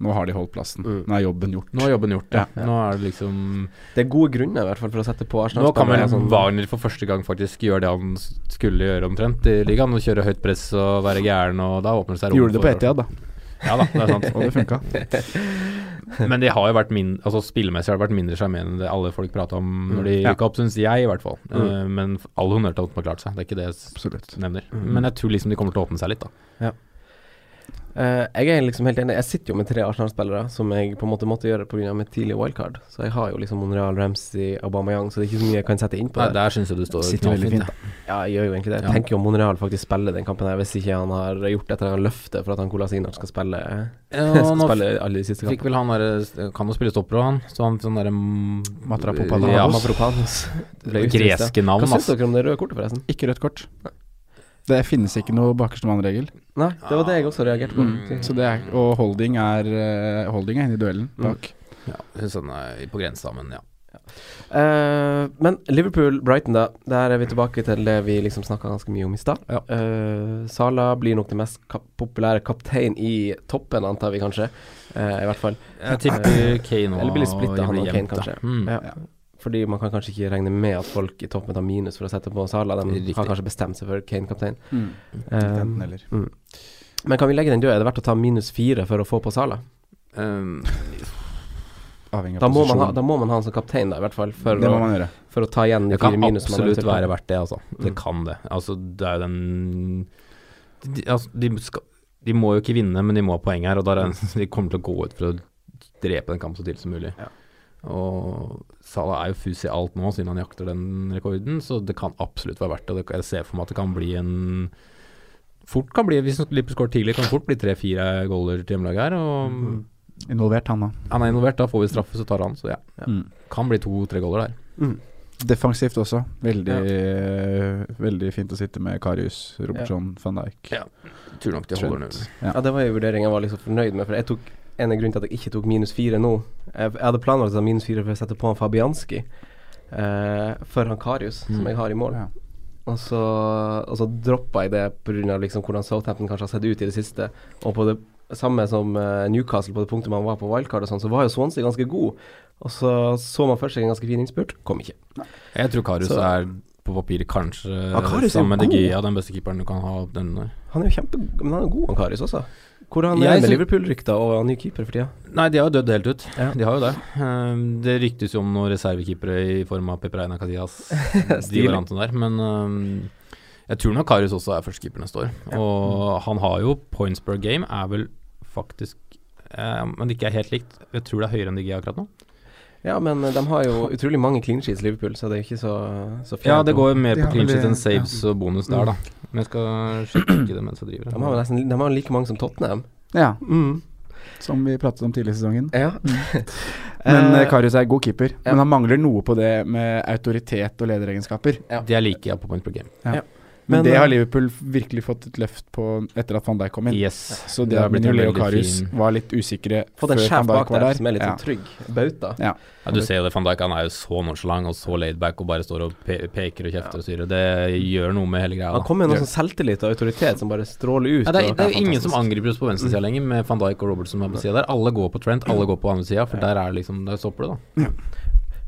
Speaker 3: Nå har de holdt plassen.
Speaker 2: Mm.
Speaker 3: Nå er jobben gjort.
Speaker 4: Nå er jobben gjort, ja.
Speaker 2: Ja.
Speaker 4: Nå er det liksom
Speaker 2: Det er gode grunner i hvert fall for å sette på Arsenal.
Speaker 4: Nå kan vel
Speaker 2: spillere, sånn-
Speaker 4: Wagner for første gang faktisk gjøre det han s- skulle gjøre omtrent i ligaen. Å kjøre høyt press og være gæren, og da åpner det seg rom
Speaker 3: Gjorde det på
Speaker 4: for-
Speaker 3: Etiad, da.
Speaker 4: Ja da, det er sant.
Speaker 3: Og det funka.
Speaker 4: Men de har jo vært min, altså spillemessig har det vært mindre sjarmerende enn det alle folk prata om når de
Speaker 3: Ja.
Speaker 4: gikk opp, syns jeg i hvert fall.
Speaker 2: Mm.
Speaker 4: Eh, men f- all honnør til at de har klart seg, det er ikke det jeg s-
Speaker 3: Absolutt.
Speaker 4: nevner.
Speaker 2: Mm.
Speaker 4: Men jeg tror liksom de kommer til å åpne seg litt, da.
Speaker 2: Eh, jeg er liksom helt enig. Jeg sitter jo med tre Arsenal-spillere som jeg på en måte måtte gjøre pga. mitt tidlige wildcard. Så jeg har jo liksom Monreal, Ramsey, Aubameyang, så det er ikke så mye jeg kan sette inn på
Speaker 4: Nei,
Speaker 2: det.
Speaker 4: der syns jeg du står
Speaker 3: Sitter veldig
Speaker 4: knallfint,
Speaker 3: fint,
Speaker 4: ja.
Speaker 2: Ja, jeg gjør jo egentlig det. Jeg
Speaker 4: Ja.
Speaker 2: tenker jo Monreal faktisk spiller den kampen her, hvis ikke han har gjort et eller annet løfte for at han Colasinac skal spille
Speaker 4: Og
Speaker 2: Skal
Speaker 4: nå
Speaker 2: spille alle de siste kampene.
Speaker 4: fikk vel han derre Kan jo spille stopper òg, han. Så han sånn derre mm,
Speaker 3: Matrapopalos.
Speaker 4: Ja, Matrapopalos.
Speaker 2: Mavropanos ble utvist, ja.
Speaker 4: Greske navn,
Speaker 2: Hva syns
Speaker 4: ass.
Speaker 2: dere om det røde kortet, forresten?
Speaker 3: Ikke rødt kort. Det finnes ikke noe bakerste mann-regel.
Speaker 2: Nei, det var det jeg også reagerte på.
Speaker 4: Mm.
Speaker 3: Så det er- Og holding er eh, Holding er inne i duellen bak.
Speaker 4: Ja, syns han er på grensa, men ja.
Speaker 2: Eh, men Liverpool-Brighton, da. Der er vi tilbake til det vi liksom snakka ganske mye om i stad.
Speaker 4: Ja.
Speaker 2: Eh, Salah blir nok den mest kap populære kaptein i toppen, antar vi kanskje. Eh, I hvert fall.
Speaker 4: Jeg tipper Kane
Speaker 2: Eh, Eller blir litt splittet, han og Kane,
Speaker 4: jevnt, da.
Speaker 2: kanskje.
Speaker 4: Mm.
Speaker 2: Ja. Fordi man kan kanskje ikke regne med at folk i toppen tar minus for å sette på Salah. De
Speaker 4: Riktig.
Speaker 2: har kanskje bestemt seg for Kane-kaptein.
Speaker 3: Mm.
Speaker 2: Eh,
Speaker 3: Enten eller.
Speaker 2: men kan vi legge den død? Er det verdt å ta minus fire for å få på Salah?
Speaker 4: Um,
Speaker 3: Avhengig
Speaker 2: Da
Speaker 3: av
Speaker 2: må, man ha,
Speaker 3: posisjon.
Speaker 2: da må man ha han som kaptein, da, i hvert fall. For,
Speaker 3: Det må
Speaker 2: å,
Speaker 3: man gjøre.
Speaker 2: for å ta igjen de
Speaker 4: Det kan
Speaker 2: fire minus man
Speaker 4: absolutt
Speaker 2: eventuelt har.
Speaker 4: være verdt det, altså. Det
Speaker 2: Mm.
Speaker 4: kan det. Altså, det er jo den de, altså, de, skal, de må jo ikke vinne, men de må ha poeng her, og da er det, de kommer til å gå ut for å drepe den kampen så tidlig som mulig.
Speaker 2: Ja.
Speaker 4: Og Salah er jo fus i alt nå, siden han jakter den rekorden, så det kan absolutt være verdt det. Og det- Jeg ser for meg at det kan bli en Fort kan bli, Hvis Lippes går tidlig, kan det fort bli tre-fire goaler til hjemmelaget her. Og
Speaker 2: Mm.
Speaker 3: Mm. Involvert, han da.
Speaker 4: han er involvert, da får vi straffe, så tar han. Så ja,
Speaker 2: Ja.
Speaker 3: Mm.
Speaker 4: kan bli to-tre goaler der.
Speaker 2: Mm.
Speaker 3: Defensivt også. Veldig eh, Veldig fint å sitte med Karius, Robertson, van Dijk.
Speaker 4: Ja. Tror nok de holder
Speaker 3: Trent.
Speaker 4: nullen.
Speaker 2: Ja, det var en vurdering jeg var liksom fornøyd med, for jeg tok en av grunnene til at jeg ikke tok minus fire nå. Jeg, jeg hadde planlagt å ta minus fire for å sette på han Fabianski eh, for han Karius,
Speaker 4: Mm.
Speaker 2: som jeg har i mål.
Speaker 3: Ja.
Speaker 2: Og så, og så droppa jeg det pga. Liksom hvordan Southampton kanskje har sett ut i det siste. Og på det samme som eh, Newcastle, på det punktet man var på wildcard og sånn, så var jo Swansea ganske god. Og så så man først seg en ganske fin innspurt, kom ikke.
Speaker 4: Jeg tror Karius
Speaker 2: Så-
Speaker 4: er på papiret kanskje
Speaker 2: Karius er jo
Speaker 4: sammen med De
Speaker 2: god.
Speaker 4: Gea den eh. beste keeperen du kan ha. Den,
Speaker 2: Han er jo kjempe... Men han er jo god, han Karius også. Hvordan er
Speaker 4: Jeg
Speaker 2: det med
Speaker 4: syns-
Speaker 2: Liverpool-rykter og ny keeper for tida?
Speaker 4: Nei, de har jo dødd helt ut.
Speaker 2: Ja.
Speaker 4: De har jo det. Ehm, Det ryktes jo om noen reservekeepere i form av Pepreina Casillas. de
Speaker 2: Stilig.
Speaker 4: variantene der. Men ehm, jeg tror nok Karius også er førstekeeper neste år. Og han har jo points per game, er vel faktisk eh, Men det ikke er helt likt. Jeg tror det er høyere enn DG akkurat nå.
Speaker 2: Ja, men eh, de har jo utrolig mange clean sheets, Liverpool, så det er ikke så, så fjernt
Speaker 4: Ja, det
Speaker 2: å-
Speaker 4: går mer
Speaker 3: De
Speaker 4: på
Speaker 3: har
Speaker 4: clean
Speaker 3: vel
Speaker 4: sheet
Speaker 3: det-
Speaker 4: enn saves og bonus der, da. Men jeg skal sjekke det mens jeg driver.
Speaker 2: De har jo nesten de har like mange som Tottenham.
Speaker 3: Ja,
Speaker 2: Mm.
Speaker 3: som vi pratet om tidligere i sesongen.
Speaker 2: Ja.
Speaker 3: Men
Speaker 2: Eh,
Speaker 3: eh, Karius er god keeper,
Speaker 2: ja.
Speaker 3: men han mangler noe på det med autoritet og lederegenskaper.
Speaker 4: De er like ja, på point per game.
Speaker 3: Men,
Speaker 2: Men,
Speaker 3: det
Speaker 2: eh,
Speaker 3: har Liverpool virkelig fått et løft på etter at van Dijk kom inn.
Speaker 4: Yes.
Speaker 3: Så
Speaker 4: Det
Speaker 3: det
Speaker 4: har
Speaker 3: at
Speaker 4: blitt en
Speaker 3: Minoli og
Speaker 4: veldig
Speaker 3: Karius
Speaker 4: fin-
Speaker 3: var litt usikre
Speaker 2: Fått en
Speaker 3: før
Speaker 2: sjef
Speaker 3: van
Speaker 2: bak
Speaker 3: Dijk var
Speaker 2: der,
Speaker 3: der.
Speaker 2: som er litt
Speaker 3: Ja.
Speaker 2: sånn trygg. Bauta.
Speaker 4: Ja, du ser jo det, van Dijk han er jo så nonchalant og så laidback og bare står og pe peker og kjefter og styrer. Det gjør noe med hele greia.
Speaker 2: Han
Speaker 4: da.
Speaker 2: kommer med
Speaker 3: Ja.
Speaker 2: noe sånn selvtillit og autoritet som bare stråler ut.
Speaker 4: Ja, det er,
Speaker 2: og-
Speaker 4: det er jo ingen som angriper oss på venstresida
Speaker 3: Mm.
Speaker 4: lenger, med van Dijk og Robertson på sida der. Alle går på Trent, alle går på andre sida, for der er det liksom Der stopper det, da.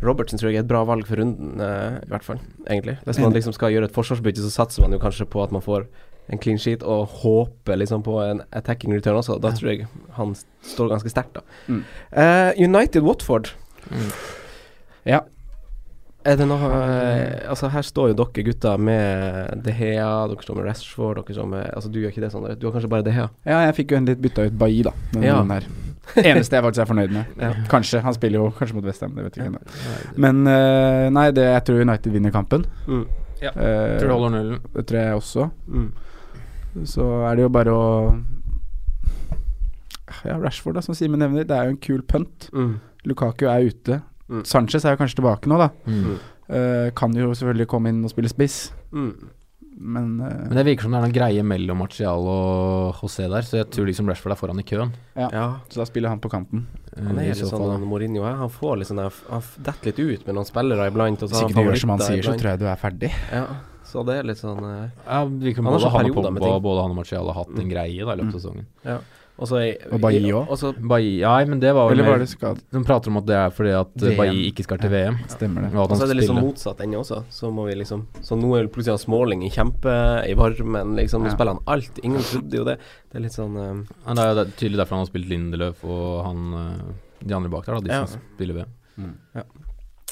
Speaker 2: Robertsen tror jeg er et bra valg for runden, eh, i hvert fall. Egentlig. Hvis man liksom skal gjøre et forsvarsbytte, så satser man jo kanskje på at man får en clean sheet, og håper liksom på en attacking return også. Da tror jeg han s- står ganske sterkt, da.
Speaker 3: Mm.
Speaker 2: Eh, United Watford.
Speaker 4: Mm.
Speaker 3: Ja.
Speaker 2: Er det noe eh, Altså, her står jo dere gutter med De Hea, dere står med Rashford, dere står med Altså, du gjør ikke det, Sondre. Du har kanskje bare De Hea.
Speaker 3: ja, jeg fikk jo en litt bytta ut Bailly, da. Denne
Speaker 2: Ja.
Speaker 3: runden her. Eneste jeg faktisk er fornøyd med.
Speaker 2: Ja.
Speaker 3: Kanskje. Han spiller jo kanskje mot Westham, det vet jeg ikke ennå. Men eh, nei, det, jeg tror United vinner kampen.
Speaker 2: Mm.
Speaker 3: Eh,
Speaker 4: Tror du holder nullen?
Speaker 3: det tror jeg også.
Speaker 2: Mm.
Speaker 3: Så er det jo bare å Ja, Rashford, da, som Simen nevner. Det er jo en kul punt.
Speaker 2: Mm.
Speaker 3: Lukaku er ute.
Speaker 2: Mm.
Speaker 3: Sanchez er jo kanskje tilbake nå, da.
Speaker 4: Mm.
Speaker 3: Eh, kan jo selvfølgelig komme inn og spille spiss,
Speaker 2: Mm.
Speaker 3: men eh,
Speaker 4: Men det virker som det er noen greie mellom Martial og José der, så jeg tror liksom Rashford er foran i køen.
Speaker 2: Ja.
Speaker 3: Så da spiller han på kanten.
Speaker 4: eh,
Speaker 2: Han er
Speaker 4: i
Speaker 2: litt
Speaker 4: så
Speaker 2: sånn
Speaker 4: fall, da.
Speaker 2: han Mourinho er. Han får litt sånn der- Han f- detter litt ut med noen spillere iblant. Og så
Speaker 3: Hvis
Speaker 2: har
Speaker 3: ikke du gjør som han
Speaker 2: favoritter
Speaker 3: sier, så
Speaker 2: iblant.
Speaker 3: tror jeg du er ferdig.
Speaker 2: Ja, så det er litt sånn eh,
Speaker 4: Ja, det virker
Speaker 2: Han
Speaker 4: som
Speaker 2: har
Speaker 4: både
Speaker 2: sånn
Speaker 4: han og
Speaker 2: perioder med
Speaker 4: Pogba
Speaker 2: ting.
Speaker 4: og både han og Martial har
Speaker 3: Mm.
Speaker 4: hatt en greie da, i løpet av sesongen.
Speaker 2: Og så er-
Speaker 3: Og Bailly også.
Speaker 2: og så-
Speaker 4: Bailly Nei, men det var vel
Speaker 3: Eller var
Speaker 4: mer
Speaker 3: det skade?
Speaker 4: De prater om at det er fordi at
Speaker 3: VM.
Speaker 4: Bailly ikke skal til VM.
Speaker 3: Stemmer det.
Speaker 4: Og at
Speaker 2: Og
Speaker 4: han
Speaker 2: så er det
Speaker 4: skal
Speaker 2: litt sånn
Speaker 4: spille.
Speaker 2: motsatt ennå også. Så må vi liksom Så nå er det plutselig han Småling i kjempe i varmen, liksom. Nå
Speaker 3: Ja.
Speaker 2: spiller han alt. Ingen trodde jo det. Det er litt sånn eh,
Speaker 4: Ja, det er jo det- tydelig derfor han har spilt Lindeløf og han eh, de andre bak der, da, de
Speaker 2: Ja.
Speaker 4: som spiller VM.
Speaker 3: Mm.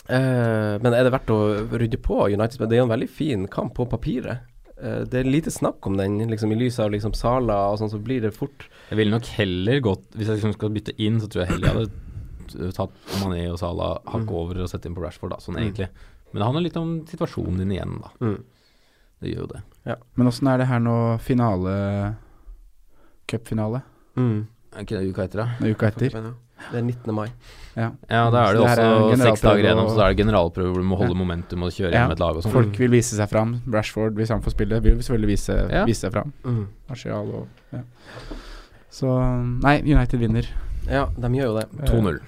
Speaker 2: eh, Men er det verdt å rydde på United? Men det er jo en veldig fin kamp på papiret. Eh, det er lite snakk om den, liksom i lys av liksom Sala og sånn, så blir det fort
Speaker 4: Jeg ville nok heller gått Hvis jeg liksom skal bytte inn, så tror jeg heller jeg hadde t- tatt Mané og Salah hakk
Speaker 2: Mm.
Speaker 4: over og sett inn på Rashford, da, sånn
Speaker 2: Mm.
Speaker 4: egentlig. Men det handler litt om situasjonen din igjen, da.
Speaker 2: mm.
Speaker 4: Det gjør jo det.
Speaker 3: Men åssen er det her nå finale Cupfinale?
Speaker 2: Mm.
Speaker 4: Er ikke det uka etter, da?
Speaker 3: Nå uka etter?
Speaker 2: Det er 19. mai.
Speaker 3: Ja.
Speaker 4: Ja, da er det
Speaker 3: Så
Speaker 4: jo
Speaker 3: det her er
Speaker 4: også
Speaker 3: en
Speaker 4: seks dager
Speaker 3: generalprøve
Speaker 4: igjennom, så da
Speaker 3: og-
Speaker 4: er det generalprøve hvor du må holde
Speaker 3: Ja.
Speaker 4: momentum og kjøre
Speaker 3: Ja.
Speaker 4: gjennom et lag og sånn.
Speaker 3: Folk vil vise seg fram. Rashford, hvis han får spille, vil selvfølgelig vise,
Speaker 4: Ja.
Speaker 3: vise seg fram.
Speaker 2: Mm.
Speaker 3: Martial og ja. Så Nei, United vinner.
Speaker 2: Ja, de gjør jo det.
Speaker 4: 2-0.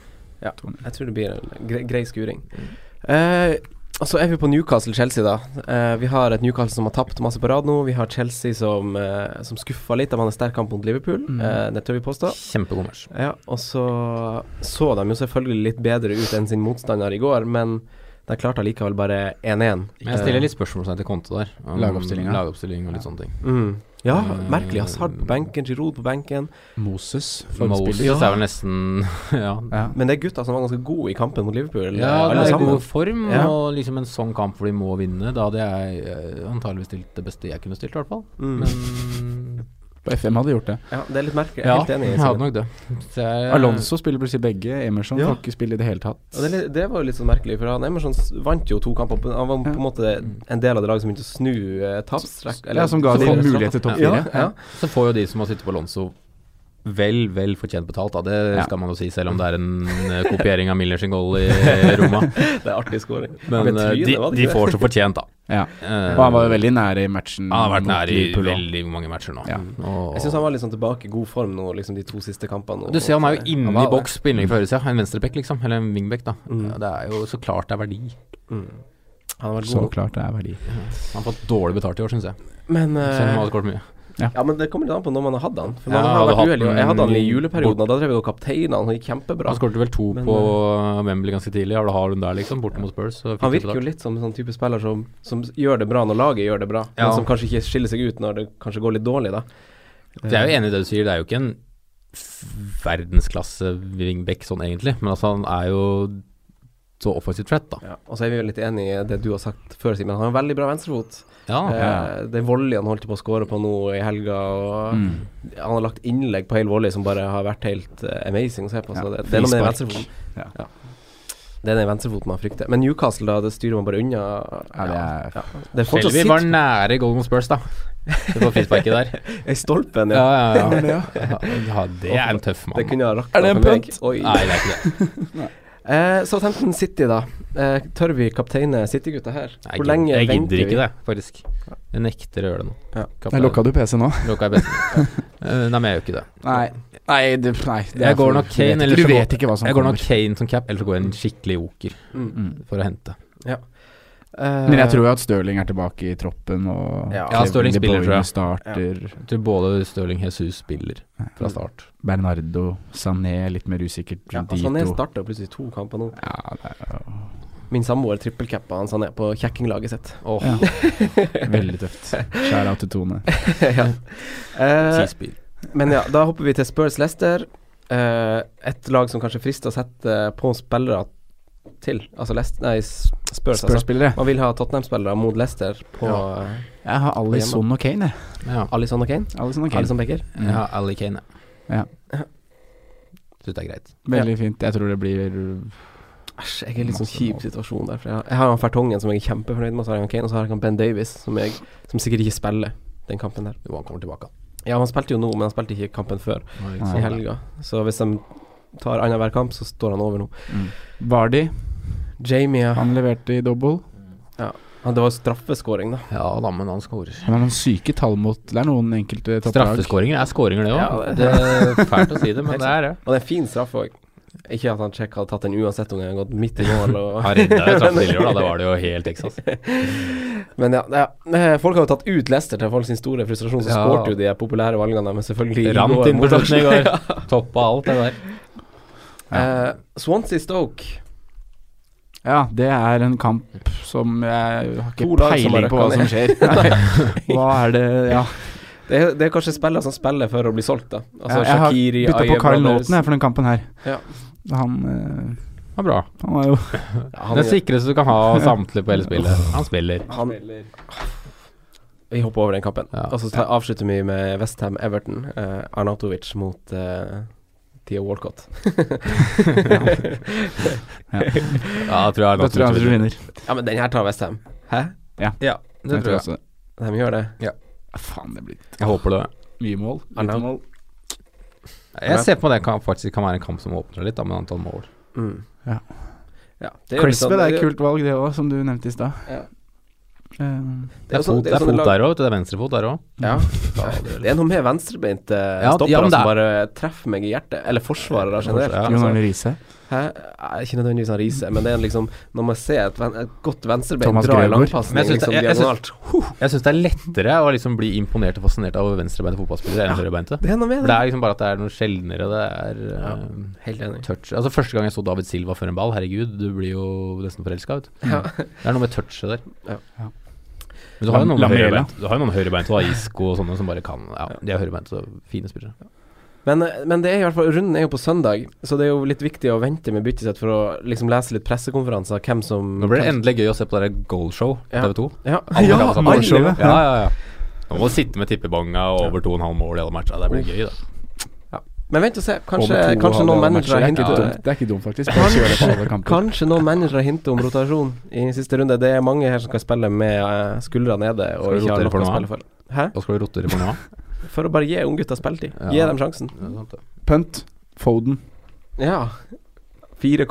Speaker 2: Jeg tror det blir en gre grei skuring.
Speaker 4: Mm.
Speaker 2: Eh, og så er vi på Newcastle-Chelsea, da. Eh, vi har et Newcastle som har tapt masse på rad nå. Vi har Chelsea som, eh, som skuffa litt. De hadde en sterk kamp mot Liverpool,
Speaker 3: Mm.
Speaker 2: eh, det tør vi påstå.
Speaker 4: Kjempegod match.
Speaker 2: Ja, og så så de jo selvfølgelig litt bedre ut enn sin motstander i går, men de klarte allikevel bare 1-1.
Speaker 4: Men jeg stiller litt spørsmålstegn til Konto der. om
Speaker 3: Lagoppstillingen.
Speaker 4: Lagoppstilling og litt sånne ting.
Speaker 2: Mm. Ja,
Speaker 4: Mm.
Speaker 2: merkelig. Hazard på benken, Giroud på benken.
Speaker 3: Moses,
Speaker 4: Moses
Speaker 3: forspiller.
Speaker 4: er vel nesten Ja,
Speaker 3: Ja.
Speaker 2: Men det er gutter som var ganske gode i kampen mot Liverpool, eh,
Speaker 4: Ja,
Speaker 2: alle
Speaker 4: det er
Speaker 2: sammen.
Speaker 4: god form,
Speaker 2: Ja.
Speaker 4: og liksom en sånn kamp hvor de må vinne. Da hadde jeg eh, antageligvis stilt det beste jeg kunne stilt, i hvert fall.
Speaker 2: Mm.
Speaker 4: Men
Speaker 3: På FM hadde gjort det.
Speaker 2: Ja, det er litt merkelig. Jeg er
Speaker 4: ja,
Speaker 2: helt enig. i
Speaker 4: jeg
Speaker 2: Simen.
Speaker 4: hadde nok det. Så jeg,
Speaker 3: Alonso spiller plutselig begge. Emerson
Speaker 2: Ja.
Speaker 3: får ikke spille i det hele tatt.
Speaker 2: Og det, er litt- det var jo litt sånn merkelig, for han Emerson s- vant jo to kamper. på- Han var på en måte en del av det laget som begynte å snu eh, tapstrekk.
Speaker 3: Ja, som ga
Speaker 4: så
Speaker 3: de
Speaker 4: får-
Speaker 3: mulighet til topp
Speaker 2: ja,
Speaker 3: fire.
Speaker 2: ja.
Speaker 4: Så får jo de som har sittet på Alonso Vel, vel fortjent betalt, da. Det
Speaker 3: Ja.
Speaker 4: skal man jo si, selv om det er en eh, kopiering av Millers goal i Roma.
Speaker 2: Det er artig scoring.
Speaker 4: Men
Speaker 2: Med
Speaker 4: eh,
Speaker 2: trynet,
Speaker 4: de,
Speaker 2: var det
Speaker 4: de
Speaker 2: ikke det?
Speaker 4: får så fortjent, da.
Speaker 3: Ja.
Speaker 4: Eh,
Speaker 3: Og han var jo veldig nære i matchen.
Speaker 4: han har vært
Speaker 3: mot
Speaker 4: nær i
Speaker 3: Liverpool også.
Speaker 4: veldig mange matcher nå.
Speaker 3: Ja.
Speaker 4: Og-
Speaker 2: Jeg syns han var litt sånn tilbake i god form nå, liksom de to siste kampene. og-
Speaker 4: Du ser han er jo
Speaker 2: Han
Speaker 4: inne
Speaker 2: var
Speaker 4: i
Speaker 2: det.
Speaker 4: boks på innlegg fra høyresida. En venstreback, liksom. Eller en wingback, da.
Speaker 2: Mm.
Speaker 4: Ja, Det er jo så klart det er verdi.
Speaker 2: Mm. Han har vært
Speaker 3: Så
Speaker 2: god. nå.
Speaker 3: klart det er verdi.
Speaker 4: Han har fått dårlig betalt i år, syns jeg.
Speaker 2: Men eh,
Speaker 4: Selv om han hadde skåret mye.
Speaker 2: ja, men det kommer litt an på når man har hatt han. For
Speaker 4: Ja,
Speaker 2: man har
Speaker 4: hadde
Speaker 2: vært
Speaker 4: hatt
Speaker 2: uheldig. og Jeg hadde han i
Speaker 4: den
Speaker 2: juleperioden, og da drev jeg og kapteina han. Han gikk kjempebra.
Speaker 4: Han skåret vel to
Speaker 2: Men, eh,
Speaker 4: på Wembley ganske tidlig. Har du har hun der, liksom, borte mot Spurs. så fikk
Speaker 2: Han
Speaker 4: de
Speaker 2: virker jo
Speaker 4: betalt.
Speaker 2: litt som en sånn type spiller som, som gjør det bra når laget gjør det bra,
Speaker 4: Ja.
Speaker 2: men som kanskje ikke skiller seg ut når det kanskje går litt dårlig, da.
Speaker 4: Så Jeg er jo enig i det du sier, det er jo ikke en f- verdensklasse wingback sånn egentlig, men altså han er jo så offensivt trett, da.
Speaker 2: Ja, og så er vi jo litt enig i det du har sagt før, Simen. Han har en veldig bra venstrefot.
Speaker 4: Ja,
Speaker 3: Ah,
Speaker 2: Eh, den volleyen han holdt på å score på nå i helga,
Speaker 3: Mm.
Speaker 2: og han har lagt innlegg på hel volley som bare har vært helt eh, amazing å se på. Så
Speaker 3: Ja,
Speaker 2: det, det er noe med den
Speaker 3: frispark.
Speaker 2: venstrefoten.
Speaker 3: Ja.
Speaker 2: Det er den venstrefoten man frykter. Men Newcastle, da, det styrer man bare unna.
Speaker 3: Ja, det er-
Speaker 2: Det er fortsatt
Speaker 4: Shelby var
Speaker 2: sitt
Speaker 4: nære Golden Spurs, da. Det var frisparket der.
Speaker 2: i stolpen,
Speaker 4: Ja,
Speaker 2: ja.
Speaker 4: ja, ja. ja det er en tøff
Speaker 2: Det
Speaker 4: mann.
Speaker 2: kunne ha rakna
Speaker 3: Er det en
Speaker 2: for meg.
Speaker 3: punt?
Speaker 2: Oi.
Speaker 4: Nei, det er ikke det.
Speaker 2: Eh, Southampton City, da. Eh, tør vi kapteine City-gutta her?
Speaker 4: Nei,
Speaker 2: Hvor lenge
Speaker 4: jeg
Speaker 2: venter
Speaker 4: gidder
Speaker 2: vi?
Speaker 4: ikke det, faktisk. Jeg nekter å gjøre det nå.
Speaker 2: Ja.
Speaker 4: Kaptein.
Speaker 3: Jeg lukka du PC nå?
Speaker 4: Lukka jeg best. Eh, Nei, men jeg gjør ikke det.
Speaker 3: Nei. Nei, det, nei det
Speaker 4: Jeg
Speaker 3: er
Speaker 4: går
Speaker 3: for-
Speaker 4: nok
Speaker 3: du
Speaker 4: Kane,
Speaker 3: vet-
Speaker 4: eller så
Speaker 3: Du
Speaker 4: går-
Speaker 3: vet ikke hva som
Speaker 4: Jeg går nok
Speaker 3: kommer.
Speaker 4: Kane som cap, eller så går jeg en skikkelig joker
Speaker 2: Mm.
Speaker 3: Mm.
Speaker 4: for å hente.
Speaker 2: Eh,
Speaker 3: Men jeg tror jo at Stirling er tilbake i troppen, og
Speaker 2: Ja.
Speaker 4: Ja, Sterling
Speaker 3: De
Speaker 4: spiller,
Speaker 3: Bruyne
Speaker 4: tror jeg.
Speaker 3: starter.
Speaker 4: Jeg tror både Stirling Jesus spiller fra start.
Speaker 3: Bernardo, Sané, litt mer usikkert.
Speaker 2: ja,
Speaker 3: de
Speaker 2: Sané
Speaker 3: to.
Speaker 2: starta plutselig to kamper nå.
Speaker 3: Ja, det er jo
Speaker 2: Min samboer trippelcappa han Sané på kjekkinglaget sitt.
Speaker 4: Åh,
Speaker 3: Ja. veldig tøft. Skjær av til Tone.
Speaker 2: ja.
Speaker 4: ti
Speaker 2: Eh,
Speaker 4: spill.
Speaker 2: men ja, da hopper vi til Spurs Leicester. Eh, et lag som kanskje frister å sette på spillere til. Altså Leicester Nei, S- Spurs, altså.
Speaker 3: Spurs-spillere.
Speaker 2: Man vil ha Tottenham-spillere mot Leicester på
Speaker 4: Ja.
Speaker 2: eh,
Speaker 3: Jeg har Alison og Kane, jeg.
Speaker 4: Ja.
Speaker 2: Alisson og Kane.
Speaker 3: Alisson og Kane.
Speaker 2: Alisson Becker.
Speaker 3: Mm.
Speaker 4: ja, Ali Kane.
Speaker 3: Ja.
Speaker 4: Syns det er greit.
Speaker 3: Veldig fint. Jeg tror det blir
Speaker 2: Æsj, jeg er i litt sånn
Speaker 3: Masse
Speaker 2: kjip
Speaker 3: mål.
Speaker 2: situasjon der. For jeg, har, jeg har han Fertongen som jeg er kjempefornøyd med, og så har jeg han Kane, og så har jeg han Ben Davies, som, jeg, som sikkert ikke spiller den kampen der.
Speaker 4: Jo, han kommer tilbake.
Speaker 2: Ja, han spilte jo nå, men han spilte ikke kampen før
Speaker 3: Nei.
Speaker 2: i helga. Så hvis de tar annenhver kamp, så står han over nå.
Speaker 3: Vardi.
Speaker 2: Jamie, ja.
Speaker 3: Han leverte i dobbel.
Speaker 2: Han- Det var jo straffeskåring, da.
Speaker 4: Ja da, men han skårer.
Speaker 3: Han har noen syke tall mot Det er noen enkelte topplag.
Speaker 4: Straffeskåringer er skåringer, det òg.
Speaker 2: Ja, det-
Speaker 4: det er fælt å si det, men det er det.
Speaker 2: Og det er en fin straffe òg. Ikke at han Check hadde tatt den uansett om den hadde gått midt i mål. Og
Speaker 4: Han redda jo straffe tidligere, da. Det var det jo helt Texas.
Speaker 2: Men ja, ja. Eh, folk har jo tatt ut Leicester til folk sin store frustrasjon, så
Speaker 4: Ja.
Speaker 2: skårte jo de populære valgene, men selvfølgelig
Speaker 4: Rant
Speaker 2: går
Speaker 4: inn på
Speaker 2: mot oss.
Speaker 4: slutten i går. Toppa alt det der.
Speaker 2: Eh, Swansea Stoke.
Speaker 3: Ja, det er en kamp som jeg har ikke
Speaker 2: To lag som
Speaker 3: peiling
Speaker 2: har
Speaker 3: på hva som skjer. Hva er det Ja.
Speaker 2: Det er, det er kanskje spillere som spiller for å bli solgt, da. Altså
Speaker 3: jeg har
Speaker 2: Shaqiri,
Speaker 3: bytta på
Speaker 2: Ayew
Speaker 3: Carl
Speaker 2: Brothers.
Speaker 3: Naughton jeg, for den kampen her.
Speaker 2: Ja.
Speaker 3: Han, eh,
Speaker 4: Ja, bra.
Speaker 3: han var jo
Speaker 2: Ja, han,
Speaker 4: Den sikreste du kan ha samtlig på hele spillet. Han spiller.
Speaker 2: han, vi hopper over den kampen.
Speaker 4: Ja.
Speaker 2: Og så tar- avslutter vi med Westham Everton. Eh, Arnautovic mot eh, Theo Walcott.
Speaker 4: Ja, jeg tror jeg
Speaker 3: Da tror jeg han tror vinner.
Speaker 2: Ja, men den her tar Westham. Hæ?
Speaker 4: Ja, det
Speaker 3: Jeg
Speaker 4: tror
Speaker 3: tror
Speaker 4: jeg.
Speaker 3: også.
Speaker 2: De gjør det.
Speaker 3: Ah, Faen, det blir
Speaker 4: Jeg håper det.
Speaker 3: mye mål.
Speaker 2: Arnaud.
Speaker 3: Lite mål.
Speaker 4: Jeg ser på det kan, faktisk kan være en kamp som åpner litt, da, med antall mål.
Speaker 2: Mm.
Speaker 3: Ja.
Speaker 2: Ja, det er jo litt
Speaker 3: Crispe,
Speaker 2: sånn-
Speaker 3: det er et kult valg, det òg, som du nevnte i stad.
Speaker 2: Ja.
Speaker 3: Eh,
Speaker 4: Det er
Speaker 2: jo sånn-
Speaker 4: fot, det er
Speaker 2: sånn lag-
Speaker 4: fot der òg, vet du. Det er venstrefot der òg.
Speaker 2: Ja. Det er noe med venstrebeinte
Speaker 4: Ja,
Speaker 2: stoppere
Speaker 4: ja, men det
Speaker 2: som
Speaker 4: er-
Speaker 2: bare treffer meg i hjertet. Eller forsvarere generelt.
Speaker 4: Ja,
Speaker 3: Jon
Speaker 2: altså.
Speaker 3: Arne Riise.
Speaker 2: Hæ? Nei, Ikke nødvendigvis han Riise, men det er liksom når man ser et, ven, et godt venstrebein
Speaker 3: Thomas
Speaker 2: dra i
Speaker 3: Grøgaard.
Speaker 4: Men
Speaker 2: langpasning
Speaker 4: jeg synes det-
Speaker 2: liksom,
Speaker 4: jeg- jeg synes-
Speaker 2: diagonalt
Speaker 4: Jeg syns det er lettere å liksom bli imponert og fascinert av venstrebeinte fotballspillere enn høyrebeinte.
Speaker 2: Det er noe med
Speaker 4: For det
Speaker 2: det.
Speaker 4: er liksom bare at det er noe sjeldnere, det er
Speaker 2: Ja.
Speaker 4: eh,
Speaker 2: Helt enig.
Speaker 4: touch Altså Første gang jeg så David Silva før en ball, herregud, du blir jo nesten forelska.
Speaker 2: Ja.
Speaker 4: Det er noe med touchet der.
Speaker 2: Ja.
Speaker 3: Ja.
Speaker 4: Men du har jo noen
Speaker 3: Lam- Lamela.
Speaker 4: høyrebeint Du har jo noen høyrebeint og Isco og sånne som bare kan Ja, de er høyrebeint og fine spillere.
Speaker 2: Men, men det er i hvert fall runden er jo på søndag, så det er jo litt viktig å vente med byttet sitt for å liksom lese litt pressekonferanser, hvem som
Speaker 4: Nå blir det endelig gøy å se på det der goalshow på
Speaker 2: Ja.
Speaker 4: TV2.
Speaker 2: Ja,
Speaker 4: Alle
Speaker 2: ja
Speaker 4: kan sammen.
Speaker 2: alle-
Speaker 3: Goalshowet.
Speaker 4: Ja, ja, ja. Nå må du sitte med tippebonga og over 2,5 mål i alle matcher. Det blir gøy, da.
Speaker 2: Men vent og se. Kanskje,
Speaker 3: Og med to
Speaker 2: kanskje noen
Speaker 3: halve matcher.
Speaker 2: managere
Speaker 3: Det er ikke
Speaker 2: hinter
Speaker 3: dumt, det er ikke dumt faktisk. Bare kjøre det på alle kamper.
Speaker 2: Kanskje noen managere hinter om rotasjon i siste runde. Det er mange her som skal spille med eh, skuldra nede
Speaker 4: Skal
Speaker 2: og
Speaker 4: du
Speaker 2: ikke har
Speaker 4: rotere
Speaker 2: nok
Speaker 4: for
Speaker 2: å
Speaker 4: noe
Speaker 2: spille for. Hæ?
Speaker 4: Da skal du rotere for noe annet.
Speaker 2: For å bare gi unggutta spilletid.
Speaker 4: Ja.
Speaker 2: Gi dem sjansen.
Speaker 3: Punt. Foden.
Speaker 2: Ja. 4,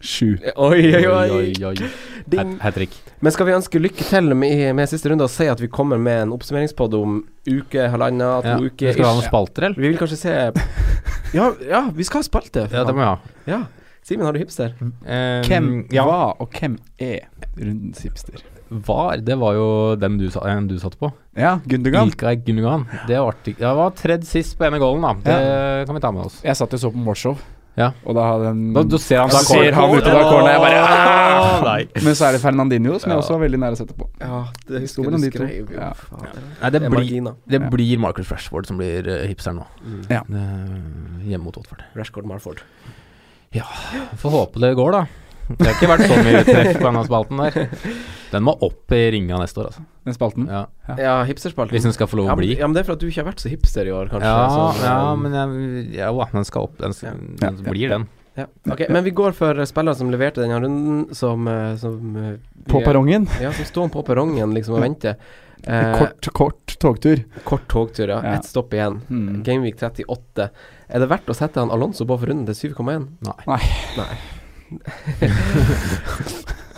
Speaker 3: Sju.
Speaker 2: Oi, oi, oi.
Speaker 4: Oi, oi, oi.
Speaker 2: Ding.
Speaker 4: Hat trick.
Speaker 2: Men skal vi ønske lykke til med, med siste runde og si at vi kommer med en oppsummeringspod om uke, halvannen, to
Speaker 4: Ja.
Speaker 2: uker
Speaker 4: Skal vi ha noen
Speaker 2: ish.
Speaker 4: spalter, eller?
Speaker 2: Vi vil kanskje se Ja, ja vi skal ha spalte.
Speaker 4: Ja, det må vi ha.
Speaker 2: Ja. Simen, har du hipster?
Speaker 4: Eh,
Speaker 3: Hvem
Speaker 4: ja.
Speaker 3: var og hvem er rundens hipster?
Speaker 4: var? Det var jo den du, sa, en du satt på.
Speaker 3: Ja, Gundogan.
Speaker 4: Ilkay Gundogan. Det var artig. Ja, det var tredd sist på ene goalen, da. Det kan vi ta med oss.
Speaker 3: Jeg satt og så på målshow,
Speaker 4: Ja.
Speaker 3: og da hadde en
Speaker 4: Da, da ser han
Speaker 3: Ja, så ser han ut av corner, jeg bare, "Ah!"
Speaker 4: Åh,
Speaker 2: Nei.
Speaker 3: Men så er det Fernandinho, som jeg
Speaker 2: Ja.
Speaker 3: også var veldig nær å sette på.
Speaker 2: Ja, det
Speaker 3: sto
Speaker 2: husker
Speaker 3: mellom
Speaker 2: du
Speaker 3: de to.
Speaker 2: skrev jo.
Speaker 3: Ja.
Speaker 2: Fader.
Speaker 4: Nei, det
Speaker 2: Det er
Speaker 4: blir,
Speaker 2: marginer.
Speaker 4: det
Speaker 3: Ja.
Speaker 4: blir Marcus Rashford som blir eh, hipsteren nå.
Speaker 2: Mm.
Speaker 3: Ja.
Speaker 4: Eh, hjemme mot Watford.
Speaker 2: Rashford Marford.
Speaker 4: Får håpe det går, da. Det har ikke vært så mye treff på denne spalten der. Den må opp i ringa neste år, altså.
Speaker 3: Den spalten.
Speaker 4: Ja.
Speaker 3: Ja.
Speaker 2: Ja, hipsterspalten.
Speaker 4: Hvis den skal få lov
Speaker 2: Ja,
Speaker 4: å
Speaker 2: men,
Speaker 4: bli.
Speaker 2: ja, men det er for at du ikke har vært så hipster i år, kanskje.
Speaker 4: Ja,
Speaker 2: så,
Speaker 4: ja,
Speaker 2: um,
Speaker 4: men jeg, ja, jo da, den skal opp. Den,
Speaker 2: Ja.
Speaker 4: skal,
Speaker 3: Ja,
Speaker 4: den
Speaker 3: ja,
Speaker 4: blir den.
Speaker 2: ja. Ok, men vi går for eh, spillere som leverte denne runden, som, eh, som eh,
Speaker 3: På
Speaker 2: blir-
Speaker 3: perrongen.
Speaker 2: Ja, som står på perrongen liksom og venter. Eh,
Speaker 3: Kort, kort togtur.
Speaker 2: kort togtur, ja.
Speaker 3: Ja.
Speaker 2: Ett stopp igjen.
Speaker 3: Mm.
Speaker 2: Gameweek 38. Er det verdt å sette han Alonso på for runden til 7,1?
Speaker 4: Nei.
Speaker 3: Nei.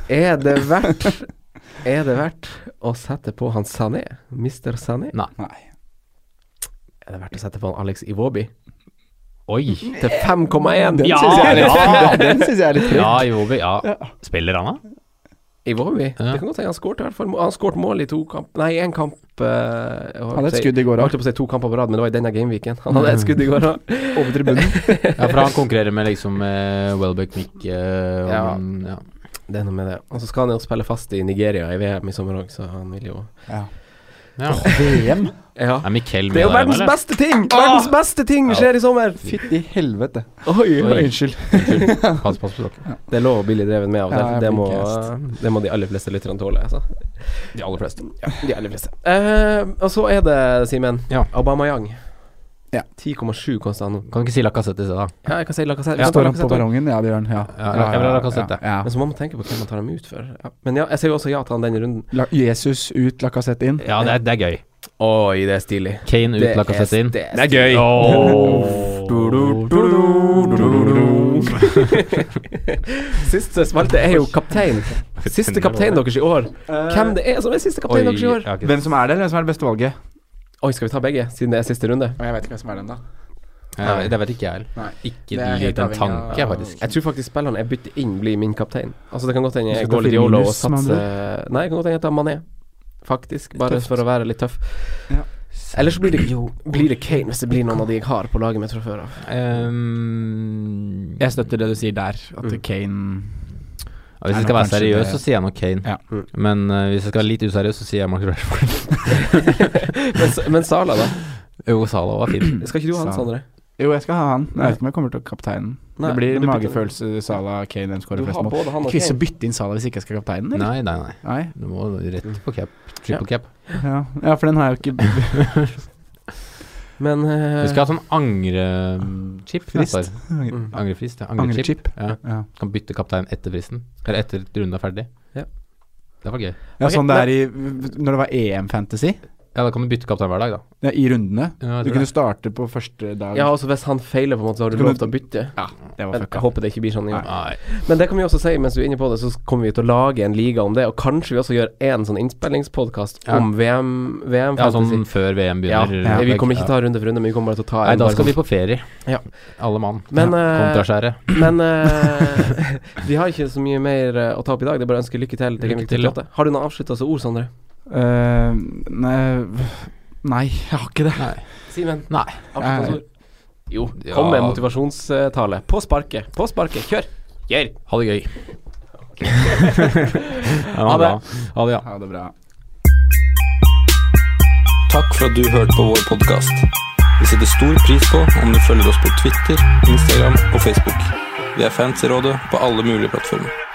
Speaker 2: Er det verdt Er det verdt å sette på han Sané? Mr. Sané?
Speaker 3: Nei.
Speaker 2: Er det verdt å sette på han Alex Iwobi?
Speaker 4: Oi!
Speaker 2: Til 5,1!
Speaker 3: Den
Speaker 4: Ja,
Speaker 3: syns jeg er litt,
Speaker 4: ja.
Speaker 3: den synes jeg er litt
Speaker 4: Ja,
Speaker 3: trygg.
Speaker 4: Iwobi. Ja. Spiller han, da?
Speaker 2: Iwobi?
Speaker 4: Ja.
Speaker 2: Det kan godt hende han skåret i hvert fall. Han skåret mål i to kamp Nei, én kamp eh, jeg holdt
Speaker 3: Han
Speaker 2: på å
Speaker 3: hadde et
Speaker 2: si-
Speaker 3: skudd i går
Speaker 2: Jeg
Speaker 3: òg,
Speaker 2: holdt på å si to kamper på rad, men det var i denne gameweeken. Han hadde et skudd i går òg.
Speaker 3: over tribunen.
Speaker 4: Ja, for han konkurrerer med liksom eh, Welbeck Mick eh, og-
Speaker 2: Ja.
Speaker 4: ja.
Speaker 2: Det er noe med det. Og så skal han jo spille fast i Nigeria i VM i sommer òg, så han vil jo
Speaker 3: Ja.
Speaker 4: Ja.
Speaker 3: VM?
Speaker 2: Ja.
Speaker 4: Er Mikkel med
Speaker 2: Det er jo
Speaker 4: der,
Speaker 2: verdens
Speaker 4: eller?
Speaker 2: beste ting! Verdens beste ting skjer i sommer!
Speaker 3: Fytti helvete.
Speaker 2: Oi,
Speaker 4: Oi.
Speaker 3: Unnskyld.
Speaker 4: Pass, pass på dere.
Speaker 2: Det er lov å bli litt drevet med av og til.
Speaker 3: Ja, jeg
Speaker 2: det, må,
Speaker 3: blir ikke
Speaker 2: det må de aller fleste lytterne tåle. Altså.
Speaker 4: De aller fleste.
Speaker 2: Ja, de aller fleste. Eh, og så er det, Simen,
Speaker 4: Ja.
Speaker 2: Aubameyang.
Speaker 3: Ja.
Speaker 2: 10,7 koster han nå.
Speaker 4: Kan du ikke si Lacassette i sted, da?
Speaker 2: Ja, jeg kan si Lacassette.
Speaker 3: Står han på perrongen? Ja, det gjør han. Ja.
Speaker 4: Ja, jeg vil ha Lacazette.
Speaker 3: Ja.
Speaker 2: Men så må man tenke på hvem man tar dem ut for. Ja. Men ja, jeg sier jo også ja til han denne runden.
Speaker 3: La Jesus ut, Lacassette inn.
Speaker 4: Ja, det er, det er gøy.
Speaker 2: Oi, det er stilig.
Speaker 4: Kane ut,
Speaker 2: Det er-
Speaker 4: Lacassette inn.
Speaker 2: det er
Speaker 4: gøy!
Speaker 2: Siste spalte er jo kaptein. Siste kaptein deres i år. Hvem det er som er siste kaptein deres i år?
Speaker 3: Hvem som er det, eller hvem som er det beste valget?
Speaker 2: Oi, skal vi ta begge, siden det er siste runde?
Speaker 3: Jeg vet ikke hvem som er den, da.
Speaker 4: Ja, det vet ikke jeg heller.
Speaker 3: Nei.
Speaker 4: Ikke
Speaker 3: Det er
Speaker 4: de
Speaker 3: helt
Speaker 4: uten
Speaker 3: avhengig av-
Speaker 4: tanke, faktisk.
Speaker 2: Jeg tror faktisk spillerne jeg bytter inn, blir min kaptein. Altså Det kan godt hende
Speaker 3: Du
Speaker 2: jeg
Speaker 3: skal
Speaker 2: går
Speaker 3: ta
Speaker 2: litt yolo og
Speaker 3: Firminus, med andre
Speaker 2: satser Nei, det kan godt hende jeg tar Mané, faktisk. Bare for å være litt tøff.
Speaker 3: Ja.
Speaker 2: Ellers så blir det, blir det Kane, hvis det blir noen av de jeg har på laget mitt fra før av.
Speaker 4: Ehm,
Speaker 3: Jeg støtter det du sier der, at
Speaker 2: Mm.
Speaker 3: Kane
Speaker 4: ja, hvis
Speaker 3: Nei,
Speaker 4: jeg skal
Speaker 3: nå
Speaker 4: være
Speaker 3: kanskje
Speaker 4: seriøs,
Speaker 3: det-
Speaker 4: så sier jeg nok Kane.
Speaker 3: Ja.
Speaker 2: Mm.
Speaker 4: Men eh, hvis jeg skal være litt useriøs, så sier jeg Mark Rashford.
Speaker 2: Men, s- men Sala, da?
Speaker 4: Jo, Salah var fin.
Speaker 2: Skal ikke du ha han,
Speaker 3: Sala.
Speaker 2: Sondre?
Speaker 3: Jo, jeg skal ha han. Jeg vet ikke om jeg kommer til å kapteinen.
Speaker 2: Nei,
Speaker 3: det blir
Speaker 2: men du bytter-
Speaker 3: magefølelse Sala, Kane, hvem
Speaker 2: Du
Speaker 3: skårer flest
Speaker 2: har
Speaker 3: mål.
Speaker 2: både han og
Speaker 3: Ikke lyst til å
Speaker 2: Kane.
Speaker 3: bytte inn Sala hvis ikke jeg skal kapteinen, eller?
Speaker 4: Nei, nei, nei.
Speaker 3: Nei.
Speaker 4: Du må rett på cap. Triple cap.
Speaker 3: Ja. ja, for den har jeg jo ikke
Speaker 2: Men eh,
Speaker 4: Du skal ha sånn angrechip.
Speaker 3: Frist.
Speaker 4: neste år.
Speaker 2: mm.
Speaker 4: Angrefrist, ja. Angrechip.
Speaker 3: Angrechip.
Speaker 4: Ja.
Speaker 3: Ja.
Speaker 4: Kan bytte kaptein etter fristen. Eller etter runden er ferdig.
Speaker 2: Ja.
Speaker 4: Det var gøy.
Speaker 3: ja,
Speaker 2: Ok,
Speaker 3: sånn det er i Når det var EM-fantasy,
Speaker 4: Ja, da kan du bytte kaptein hver dag, da.
Speaker 3: ja, i rundene
Speaker 4: Ja,
Speaker 3: Du
Speaker 4: jeg tror
Speaker 3: kunne
Speaker 4: det.
Speaker 3: starte på første dag.
Speaker 2: Ja, også hvis han feiler, på en måte, så har du
Speaker 3: Skal
Speaker 2: lov
Speaker 3: du-
Speaker 2: til å bytte.
Speaker 3: det var
Speaker 2: Men
Speaker 3: fucka.
Speaker 2: jeg håper det ikke blir sånn. i år.
Speaker 4: Nei.
Speaker 2: Men det kan vi også si mens du er inne på det, så kommer vi til å lage en liga om det, og kanskje vi også gjør en sånn innspillingspodkast
Speaker 4: Ja.
Speaker 2: om VM, VM
Speaker 4: Ja,
Speaker 2: fantasy.
Speaker 4: sånn før VM
Speaker 2: Ja,
Speaker 4: begynner.
Speaker 3: ja.
Speaker 2: vi kommer ikke ta runde for runde, men vi kommer bare til å ta
Speaker 4: Nei,
Speaker 2: en.
Speaker 4: da
Speaker 2: bare
Speaker 4: skal
Speaker 2: sånn.
Speaker 4: vi på ferie.
Speaker 2: Ja.
Speaker 4: Alle mann.
Speaker 2: Men, eh,
Speaker 4: Kontraskjæret.
Speaker 2: men eh, vi har ikke så mye mer eh, å ta opp i dag. Det er bare å ønske lykke til. til Gameweek
Speaker 4: Lykke til, ja.
Speaker 2: 38. Har du noen avsluttende ord, Sondre?
Speaker 3: Eh, nei, nei, jeg har ikke det.
Speaker 4: Nei.
Speaker 2: Simen?
Speaker 4: Nei.
Speaker 3: Nei.
Speaker 2: Avsluttende ord? Jo,
Speaker 4: Ja.
Speaker 2: kom med en motivasjonstale. På sparket. På sparket. Kjør. Kjør.
Speaker 4: Ha det gøy.
Speaker 2: Ha det.
Speaker 4: Ha det, ja.
Speaker 3: Ha det bra.
Speaker 1: Takk for at du hørte på vår podkast. Vi setter stor pris på om du følger oss på Twitter, Instagram og Facebook. Vi er Fantasyrådet på alle mulige plattformer.